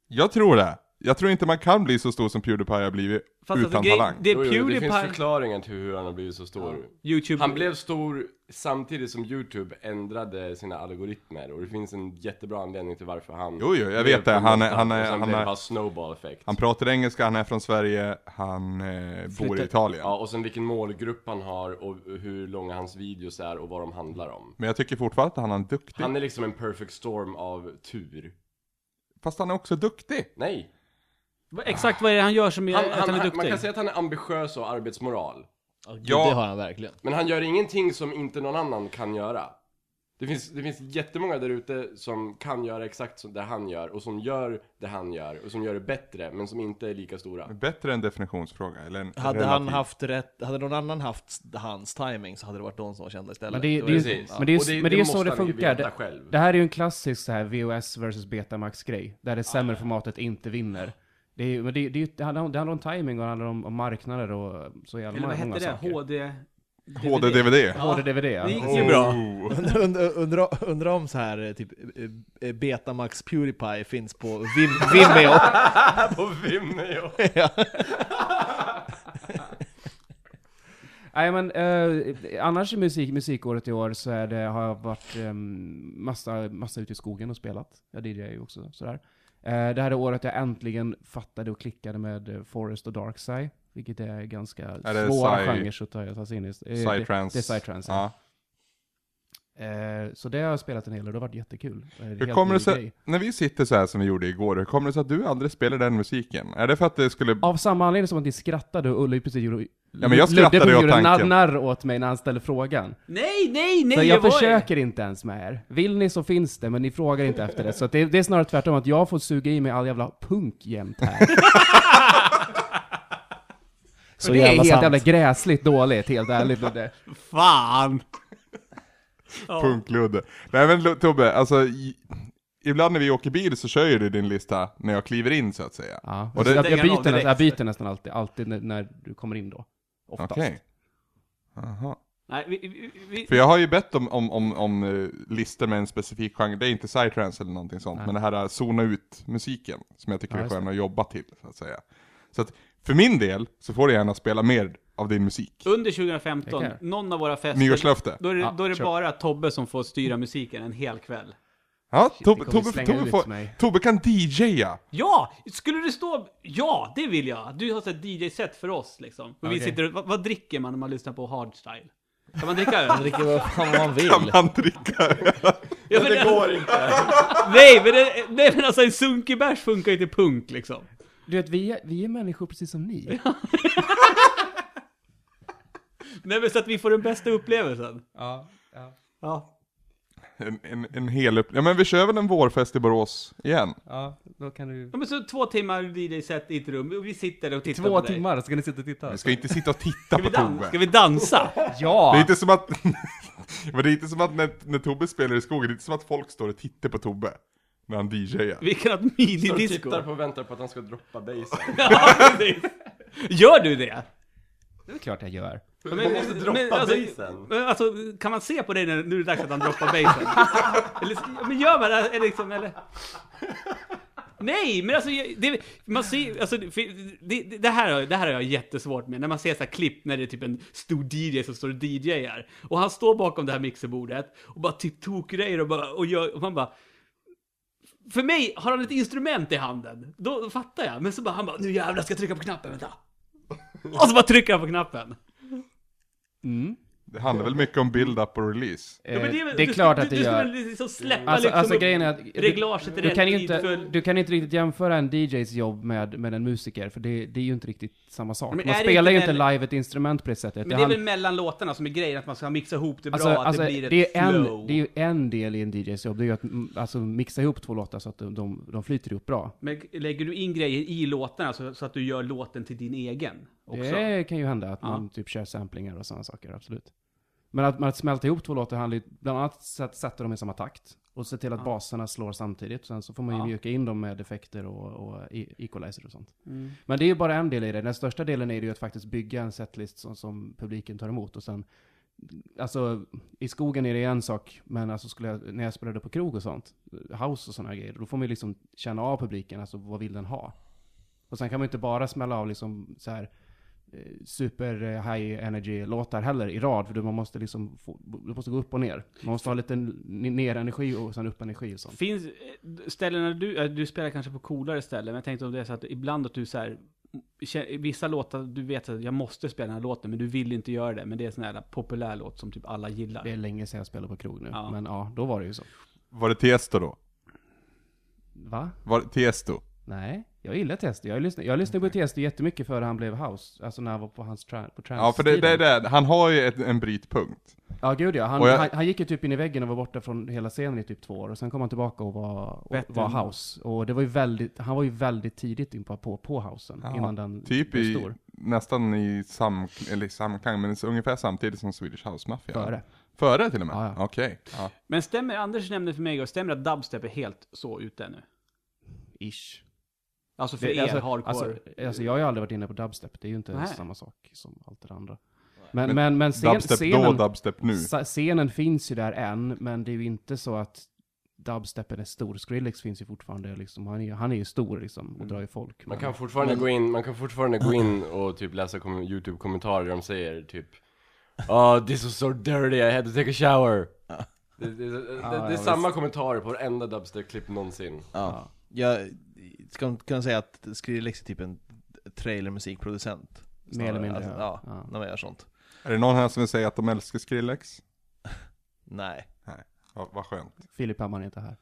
Speaker 1: Jag tror det! Jag tror inte man kan bli så stor som Pewdiepie har blivit
Speaker 2: fast
Speaker 1: utan
Speaker 2: alltså, grej,
Speaker 1: talang.
Speaker 2: det är
Speaker 5: Jo, jo, det finns
Speaker 2: Pewdiepie,
Speaker 5: förklaringar till hur han har blivit så stor.
Speaker 2: YouTube,
Speaker 5: Han blev stor samtidigt som YouTube ändrade sina algoritmer och det finns en jättebra anledning till varför han...
Speaker 1: Jo, jo, jag
Speaker 5: blev
Speaker 1: vet det.
Speaker 5: på
Speaker 1: Han är-
Speaker 5: något
Speaker 1: han är-
Speaker 5: och sen
Speaker 1: han
Speaker 5: blev
Speaker 1: är-
Speaker 5: det bara snowball effekt.
Speaker 1: Han pratar engelska, han är från Sverige, han eh, bor i
Speaker 3: Flyttar-
Speaker 1: Italien.
Speaker 5: Ja, och sen vilken målgrupp han har och hur långa hans videos är och vad de handlar om.
Speaker 1: Men jag tycker fortfarande att han är duktig.
Speaker 5: Han är liksom en perfect storm av tur.
Speaker 1: Fast han är också duktig!
Speaker 5: Nej!
Speaker 2: exakt vad är det han gör som gör
Speaker 5: Han,
Speaker 2: att han,
Speaker 5: han,
Speaker 2: är
Speaker 5: han,
Speaker 2: duktig?
Speaker 5: man kan säga att han är ambitiös och arbetsmoral.
Speaker 1: Ja.
Speaker 4: Det har han verkligen.
Speaker 5: Men han gör ingenting som inte någon annan kan göra. Det finns, det finns jättemånga där ute som kan göra exakt som det han gör och som gör det han gör och som gör det bättre men som inte är lika stora.
Speaker 1: Bättre än definitionsfråga, eller en
Speaker 4: Hade han
Speaker 1: relativ.
Speaker 4: haft rätt, hade någon annan haft hans timing så hade det varit de som var kända istället.
Speaker 3: Men det, är-
Speaker 4: var
Speaker 3: det, är ju-
Speaker 5: precis.
Speaker 3: men det, är ju-
Speaker 5: Och det-
Speaker 3: men det är
Speaker 5: det
Speaker 3: ju så
Speaker 5: måste
Speaker 3: det
Speaker 5: han ju
Speaker 3: funkar.
Speaker 5: veta
Speaker 3: Det,
Speaker 5: själv.
Speaker 3: det här är ju en klassisk så här VOS versus Betamax-grej, där det sämre formatet inte vinner. Det, är, ju- men det, är- det, är ju- det, handlar om, det handlar om timing och det handlar om, om marknader och så jävla
Speaker 2: eller vad
Speaker 3: många
Speaker 2: hette det?
Speaker 3: saker.
Speaker 2: HD...
Speaker 1: HD-DVD?
Speaker 2: Ja.
Speaker 3: HD-DVD, ja.
Speaker 2: Det gick ju bra.
Speaker 1: Oh.
Speaker 4: Undrar undra, undra om så här eh, typ eh, eh, Betamax Pewdiepie finns på Vim, Vimeo?
Speaker 5: På Vimeo!
Speaker 4: ja.
Speaker 3: Nej men eh, annars i musik, musikåret i år så är det, har jag varit um, massa, massa ute i skogen och spelat. Jag DJar ju också sådär. Eh, det här är året jag äntligen fattade och klickade med eh, Forest och Darkside. Vilket är ganska
Speaker 1: Är det
Speaker 3: svåra
Speaker 1: sci-
Speaker 3: genrer att ta, ta sig in i. Eh, det,
Speaker 1: Psytrance.
Speaker 3: det är psytrance.
Speaker 1: Ja.
Speaker 3: Ja. Eh, så det har jag spelat en hel del och det har varit jättekul. Eh,
Speaker 1: Hur
Speaker 3: helt
Speaker 1: kommer
Speaker 3: ny
Speaker 1: det sig,
Speaker 3: grej.
Speaker 1: när vi sitter så här som vi gjorde igår, hur kommer det sig att du aldrig spelar den musiken? Är det för att det skulle...
Speaker 3: Av samma anledning som att ni skrattade och Ulle precis gjorde...
Speaker 1: Ja, men jag
Speaker 3: Ludde
Speaker 1: skrattade ju åt
Speaker 3: gjorde
Speaker 1: tanken.
Speaker 3: narr åt mig när han ställde frågan.
Speaker 2: Nej, nej, nej!
Speaker 3: Så
Speaker 2: det
Speaker 3: jag
Speaker 2: var ju-
Speaker 3: försöker inte ens med er. Vill ni så finns det, men ni frågar inte efter det. Så att det, det är snarare tvärtom, att jag får suga i mig all jävla punk jämt här.
Speaker 4: Så
Speaker 3: det är
Speaker 4: jävla
Speaker 3: helt
Speaker 4: sant.
Speaker 3: jävla gräsligt dåligt, helt ärligt. Ludde.
Speaker 2: Fan! Ja.
Speaker 1: Punkludde. Nej men Lu- Tobbe, alltså i, ibland när vi åker bil så kör ju du din lista när jag kliver in så att säga.
Speaker 3: Ja.
Speaker 1: Och
Speaker 3: Och
Speaker 1: det-
Speaker 3: Alltså, jag, jag,
Speaker 2: Stänga av
Speaker 3: byter nästan,
Speaker 2: direkt.
Speaker 3: jag byter nästan alltid, alltid när, när du kommer in då. Oftast.
Speaker 1: Okej. Jaha.
Speaker 2: Nej, vi, vi, vi,
Speaker 1: För jag har ju bett om, om, om, om eh, listor med en specifik genre, det är inte psytrance eller någonting sånt,
Speaker 3: Nej.
Speaker 1: men det här är zona ut-musiken, som jag tycker
Speaker 3: Ja,
Speaker 1: är
Speaker 3: just
Speaker 1: skön att jobba till, så att säga. Så att, för min del, så får du gärna spela mer av din musik.
Speaker 2: under 2015,
Speaker 3: Det kan jag.
Speaker 2: någon av våra fester,
Speaker 1: Nyårslöfte.
Speaker 2: då är det,
Speaker 3: Ja,
Speaker 2: då är det
Speaker 3: kör.
Speaker 2: bara Tobbe som får styra musiken en hel kväll.
Speaker 1: Ja, Tobbe,
Speaker 3: ni kommer
Speaker 1: Tobbe,
Speaker 3: slänga
Speaker 1: Tobbe,
Speaker 3: ut
Speaker 1: får,
Speaker 3: mig.
Speaker 1: Tobbe kan DJa!
Speaker 2: Ja! Skulle det stå... Ja, det vill jag! Du har sett DJ-set för oss liksom. Och vi
Speaker 3: Okej.
Speaker 2: sitter och, vad, vad dricker man när man lyssnar på hardstyle? Kan man dricka öl?
Speaker 4: dricker vad fan man vill.
Speaker 1: Kan han dricka?
Speaker 2: Ja, men,
Speaker 5: Det går inte.
Speaker 2: nej, men, det, nej, men alltså en sunkig bärs funkar ju till punk liksom.
Speaker 3: Du vet, vi är, vi är människor precis som ni.
Speaker 2: Nej, men så att vi får den bästa upplevelsen.
Speaker 3: Ja, ja,
Speaker 2: Ja.
Speaker 1: En, en, en hel upp... Ja men vi kör väl en vårfest i Borås igen?
Speaker 3: ja, då kan du...
Speaker 2: ja men så två timmar DJ-set i ett rum och vi sitter och tittar
Speaker 3: Två
Speaker 2: på dig.
Speaker 3: timmar, ska ni sitta och titta?
Speaker 1: Vi ska inte sitta och titta
Speaker 2: Ska
Speaker 1: på
Speaker 2: vi, dan-
Speaker 1: Tobbe.
Speaker 2: ska vi dansa?
Speaker 1: Det är
Speaker 3: Ja!
Speaker 1: inte som att... men det är inte som att när, när Tobbe spelar i skogen, det är inte som att folk står och tittar på Tobbe. När han DJar.
Speaker 2: Vi kan ha ett
Speaker 5: Står och
Speaker 2: minidisco.
Speaker 5: tittar på och väntar på att han ska droppa basen.
Speaker 2: Ja, precis. Gör du det?
Speaker 3: Det är klart jag gör.
Speaker 2: Men,
Speaker 5: måste droppa basen.
Speaker 2: men, alltså, kan man se på dig när, nu är det dags att han droppar basen? eller, ja, men gör man det? Eller, liksom, eller? Nej, men alltså, jag- det, man ser, alltså det, det, det, här, har- det här har jag jättesvårt med. När man ser så här klipp när det är typ en stor DJ som står och DJar. Och han står bakom det här mixerbordet och bara typ tokgrejer och, bara, och, gör, och man bara... För mig har han ett instrument i handen. Då, då fattar jag. Men så bara han bara, nu jävlar ska jag trycka på knappen, vänta. Och så bara trycker han på knappen.
Speaker 3: Mm.
Speaker 1: Det handlar väl mycket om build-up och release.
Speaker 3: Eh,
Speaker 2: men
Speaker 3: det,
Speaker 2: du-
Speaker 3: är klart
Speaker 2: du,
Speaker 3: att det
Speaker 2: du,
Speaker 3: gör.
Speaker 2: Du skulle liksom släppa
Speaker 3: Alltså,
Speaker 2: liksom
Speaker 3: alltså
Speaker 2: upp
Speaker 3: grejen är att...
Speaker 2: reglaget i
Speaker 3: Du
Speaker 2: rätt
Speaker 3: kan, ju
Speaker 2: tid
Speaker 3: inte,
Speaker 2: för...
Speaker 3: du kan inte riktigt jämföra en DJs jobb med, med en musiker, för det, det är ju inte riktigt samma sak.
Speaker 2: Men
Speaker 3: Man
Speaker 2: är det
Speaker 3: spelar ju
Speaker 2: inte
Speaker 3: inte
Speaker 2: väl-
Speaker 3: live ett instrument på det sättet.
Speaker 2: Men det är väl mellan låtarna som är grejen, att man ska mixa ihop det bra,
Speaker 3: alltså,
Speaker 2: att
Speaker 3: alltså,
Speaker 2: det blir ett
Speaker 3: det, är en,
Speaker 2: flow.
Speaker 3: det är ju en del i en DJs jobb, det är ju att mm, alltså, mixa ihop två låtar så att de, de, de flyter ihop bra.
Speaker 2: Men lägger du in grejer i låtarna så, så att du gör låten till din egen också?
Speaker 3: Det kan ju hända att
Speaker 2: Ja.
Speaker 3: man typ kör samplingar och sådana saker, absolut. Men att, men att smälta ihop två låtar handlar ju bland annat så att sätta dem i samma takt. Och se till att
Speaker 2: Ja.
Speaker 3: baserna slår samtidigt. Sen så får man ju
Speaker 2: Ja.
Speaker 3: mjuka in dem med effekter och, och e- equalizer och sånt.
Speaker 2: Mm.
Speaker 3: Men det är ju bara en del i det. Den största delen är ju att faktiskt bygga en setlist som, som publiken tar emot. Och sen, alltså i skogen är det en sak, men alltså skulle jag, när jag spelade på krog och sånt, house och sådana grejer, då får man ju liksom känna av publiken, alltså vad vill den ha? Och sen kan man ju inte bara smälla av liksom så här eh, super eh, high energy låtar heller i rad, för då man måste liksom få, du måste gå upp och ner. Man måste ha lite n- ner energi och sen upp energi och sånt.
Speaker 2: Finns eh, ställen när du, eh, du spelar kanske på coolare ställen, men jag tänkte om det är så att ibland att du så här, kä- vissa låtar, du vet att jag måste spela den här låten, men du vill inte göra det, men det är en sån här populär låt som typ alla gillar.
Speaker 3: Det är länge sedan jag spelade på krog nu,
Speaker 2: Ja.
Speaker 3: men ja, då var det ju så.
Speaker 1: Var det Tiesto då?
Speaker 3: Va?
Speaker 1: Var det Tiesto?
Speaker 3: Nej, jag gillar Tiesto. Jag lyssnade, jag lyssnade på Tiesto jättemycket före han blev house. Alltså när han var på hans tra- på trans
Speaker 1: Ja, för det, det är det. Han har ju ett, en brytpunkt.
Speaker 3: Ja, gud ja. Han,
Speaker 1: Och jag-
Speaker 3: han, han gick ju typ in i väggen och var borta från hela scenen i typ två år. Och sen kom han tillbaka och var, och
Speaker 2: Bättre än-
Speaker 3: var house. Och det var ju väldigt, han var ju väldigt tidigt in på, på, på housen.
Speaker 1: Ja,
Speaker 3: innan den
Speaker 1: Typ
Speaker 3: blev
Speaker 1: i,
Speaker 3: stor.
Speaker 1: nästan i sam, eller i samklang, men så ungefär samtidigt som Swedish House Mafia.
Speaker 3: Före.
Speaker 1: Före till och med?
Speaker 3: Ja, ja.
Speaker 1: Okej. Ja.
Speaker 2: Men stämmer, Anders nämnde för mig igår, stämmer att dubstep är helt så ute nu?
Speaker 3: Ish.
Speaker 2: Alltså för
Speaker 3: Det-
Speaker 2: er
Speaker 3: alltså,
Speaker 2: hardcore?
Speaker 3: Alltså, alltså jag har ju aldrig varit inne på dubstep. Det är ju inte
Speaker 2: Nej.
Speaker 3: samma sak som allt det andra. Men,
Speaker 1: Men
Speaker 3: men, men, scen,
Speaker 1: dubstep
Speaker 3: scenen...
Speaker 1: då, mm. dubstep nu.
Speaker 3: Sa- Scenen finns ju där än, men det är ju inte så att dubstepen är stor. Skrillex finns ju fortfarande, liksom. han, är, ju- han är ju stor liksom, och drar ju folk.
Speaker 5: Man kan fortfarande gå in, man kan fortfarande gå in och typ läsa kom- YouTube-kommentarer de säger typ Oh this was so dirty, I had to take a shower. Det, det, det, det,
Speaker 3: ja,
Speaker 5: det är
Speaker 3: visst.
Speaker 5: samma kommentarer på varenda dubstep-klipp någonsin.
Speaker 4: Ja. Jag ska inte kunna säga att Skrillex är typ en trailermusikproducent.
Speaker 3: Mer eller mindre,
Speaker 4: Alltså,
Speaker 3: ja.
Speaker 4: ja.
Speaker 3: Ja.
Speaker 4: när man gör sånt.
Speaker 1: Är det någon här som vill säga att de älskar Skrillex?
Speaker 4: Nej.
Speaker 1: Ja, vad skönt.
Speaker 3: Filip Hammar är inte här.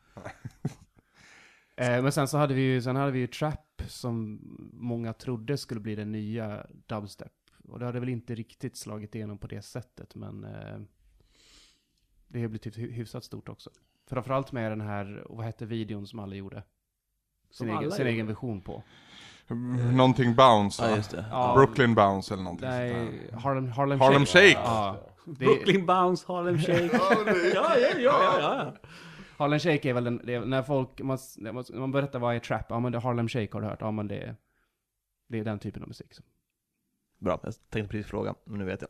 Speaker 3: eh, men sen så hade vi ju, sen hade vi ju trap som många trodde skulle bli den nya dubstep. Och det hade väl inte riktigt slagit igenom på det sättet, men eh, det har blivit typ hy- hyfsat stort också. Framförallt med den här, vad hette videon som alla gjorde? Sin,
Speaker 2: Som alla
Speaker 3: egen, sin
Speaker 2: gjorde.
Speaker 3: egen version på.
Speaker 1: Mm, Någonting bounce,
Speaker 4: Ja,
Speaker 1: va?
Speaker 4: just det.
Speaker 3: Ja.
Speaker 1: Brooklyn bounce eller någonting sånt
Speaker 3: Nej, Harlem, Harlem,
Speaker 1: där. Harlem Shake!
Speaker 3: Ja, det,
Speaker 2: Brooklyn Bounce, Harlem Shake. ja, ja, ja, ja, ja.
Speaker 3: Harlem Shake är väl den, det, är- när folk, man, s- när man, när man berättar vad är trap, ja men det är Harlem Shake har du hört, ja men det är, det är den typen av musik.
Speaker 4: Bra, jag tänkte precis fråga, men nu vet jag.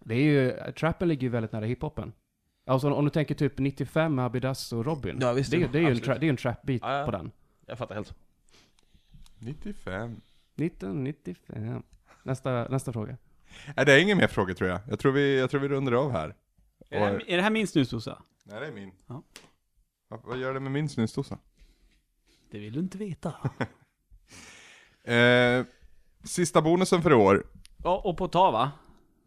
Speaker 3: Det är ju, trappen ligger ju väldigt nära hiphopen. Alltså om du tänker typ 95 med Abidas och Robin.
Speaker 4: Ja, visst,
Speaker 3: det, är- det är ju en,
Speaker 4: absolut.
Speaker 3: tra- det är ju en trap-beat
Speaker 4: Ja, ja.
Speaker 3: på den.
Speaker 4: Jag fattar helt.
Speaker 1: 95.
Speaker 3: 1995. Nästa, nästa fråga.
Speaker 1: Nej, det är ingen mer fråga tror jag. Jag tror vi, jag tror vi rundar av här.
Speaker 2: Är det här, är det här min snusdosa?
Speaker 1: Nej, det är min.
Speaker 2: Ja.
Speaker 1: Va, vad gör det med min snusdosa?
Speaker 2: Det vill du inte veta.
Speaker 1: Eh, sista bonusen för i år.
Speaker 2: Ja, och på ta va?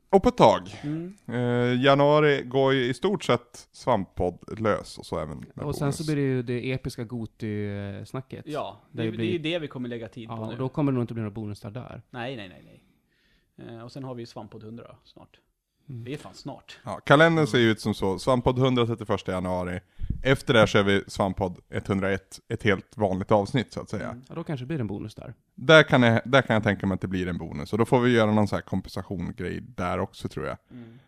Speaker 1: Och på ett tag.
Speaker 2: Mm.
Speaker 1: Eh, januari går ju i stort sett svamppodd lös och så även med
Speaker 3: och sen
Speaker 1: bonus.
Speaker 3: så blir det ju det episka Goty-snacket.
Speaker 2: Ja, det, är-
Speaker 3: Det
Speaker 2: det är ju
Speaker 3: blir-
Speaker 2: det vi kommer lägga tid på
Speaker 3: Ja,
Speaker 2: nu.
Speaker 3: och då kommer det nog inte bli några bonusar där.
Speaker 2: Nej, nej, nej, nej. Eh, och sen har vi ju Svamppodd 100 snart. Det är fan snart.
Speaker 1: Ja, kalendern
Speaker 3: Mm.
Speaker 1: ser ju ut som så, Svamppodd 131 januari. Efter det här kör vi Svamppodd 101, ett helt vanligt avsnitt så att säga.
Speaker 2: Mm,
Speaker 3: Ja, då kanske det blir en bonus där.
Speaker 1: Där, kan jag, där kan jag tänka mig att det blir en bonus, och då får vi göra någon sån här kompensationgrej där också tror jag.
Speaker 2: mm.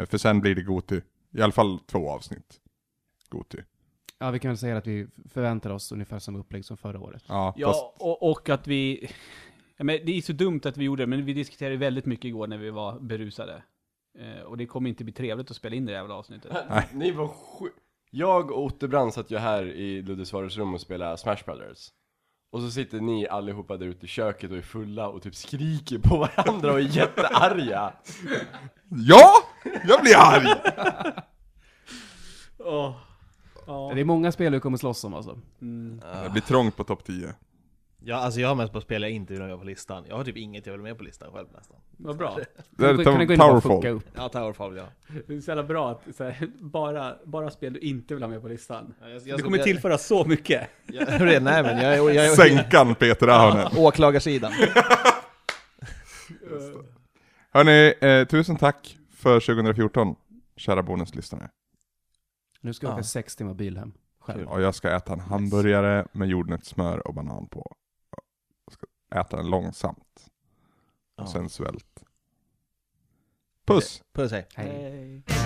Speaker 1: Eh, för sen blir det Goty, i alla fall två avsnitt. Goty.
Speaker 3: Ja, vi kan väl säga att vi förväntar oss ungefär samma upplägg som förra året.
Speaker 1: Ja,
Speaker 2: Ja,
Speaker 1: fast
Speaker 2: och, och att vi... Ja, men det är så dumt att vi gjorde det, men vi diskuterade väldigt mycket igår när vi var berusade. Eh, och det kommer inte bli trevligt att spela in det här jävla avsnittet.
Speaker 5: Ni var sju... Jag och Otte Brand satt ju här i Ludde Svares rum och spelade Smash Brothers. Och så sitter ni allihopa där ute i köket och är fulla och typ skriker på varandra och är jättearga.
Speaker 1: Ja! Jag blir arg!
Speaker 2: Åh. Ja.
Speaker 3: Det är många spel vi kommer slåss om alltså.
Speaker 1: Det blir trångt på topp 10.
Speaker 4: Ja, alltså jag har mest på spel jag inte vill ha med på listan. Jag har typ inget jag vill ha med på listan själv nästan.
Speaker 2: Vad bra.
Speaker 1: Det är
Speaker 3: Kan du gå in och bara fucka
Speaker 1: Towerfall.
Speaker 3: upp?
Speaker 4: Ja, Towerfall vill jag ha.
Speaker 2: Det är så jävla bra att så här, bara, bara spel du inte vill ha med på listan.
Speaker 4: Ja, jag- jag
Speaker 2: Du
Speaker 4: ska-
Speaker 2: kommer
Speaker 4: jag-
Speaker 2: tillföra så mycket.
Speaker 4: jag- Nej men jag, jag, jag, jag
Speaker 1: Sänkan Peter Ahonen.
Speaker 4: Åklagarsidan.
Speaker 1: Hörni, eh, tusen tack för 2014, kära bonuslyssnare.
Speaker 3: Nu ska jag
Speaker 4: Ja.
Speaker 3: åka sex timmar bil hem. Själv.
Speaker 1: Och jag ska äta en hamburgare med jordnötssmör och banan på. Jag ska äta den långsamt och
Speaker 4: Ja.
Speaker 1: sensuellt. Puss!
Speaker 4: Puss hej.
Speaker 3: Hej.
Speaker 2: Hej.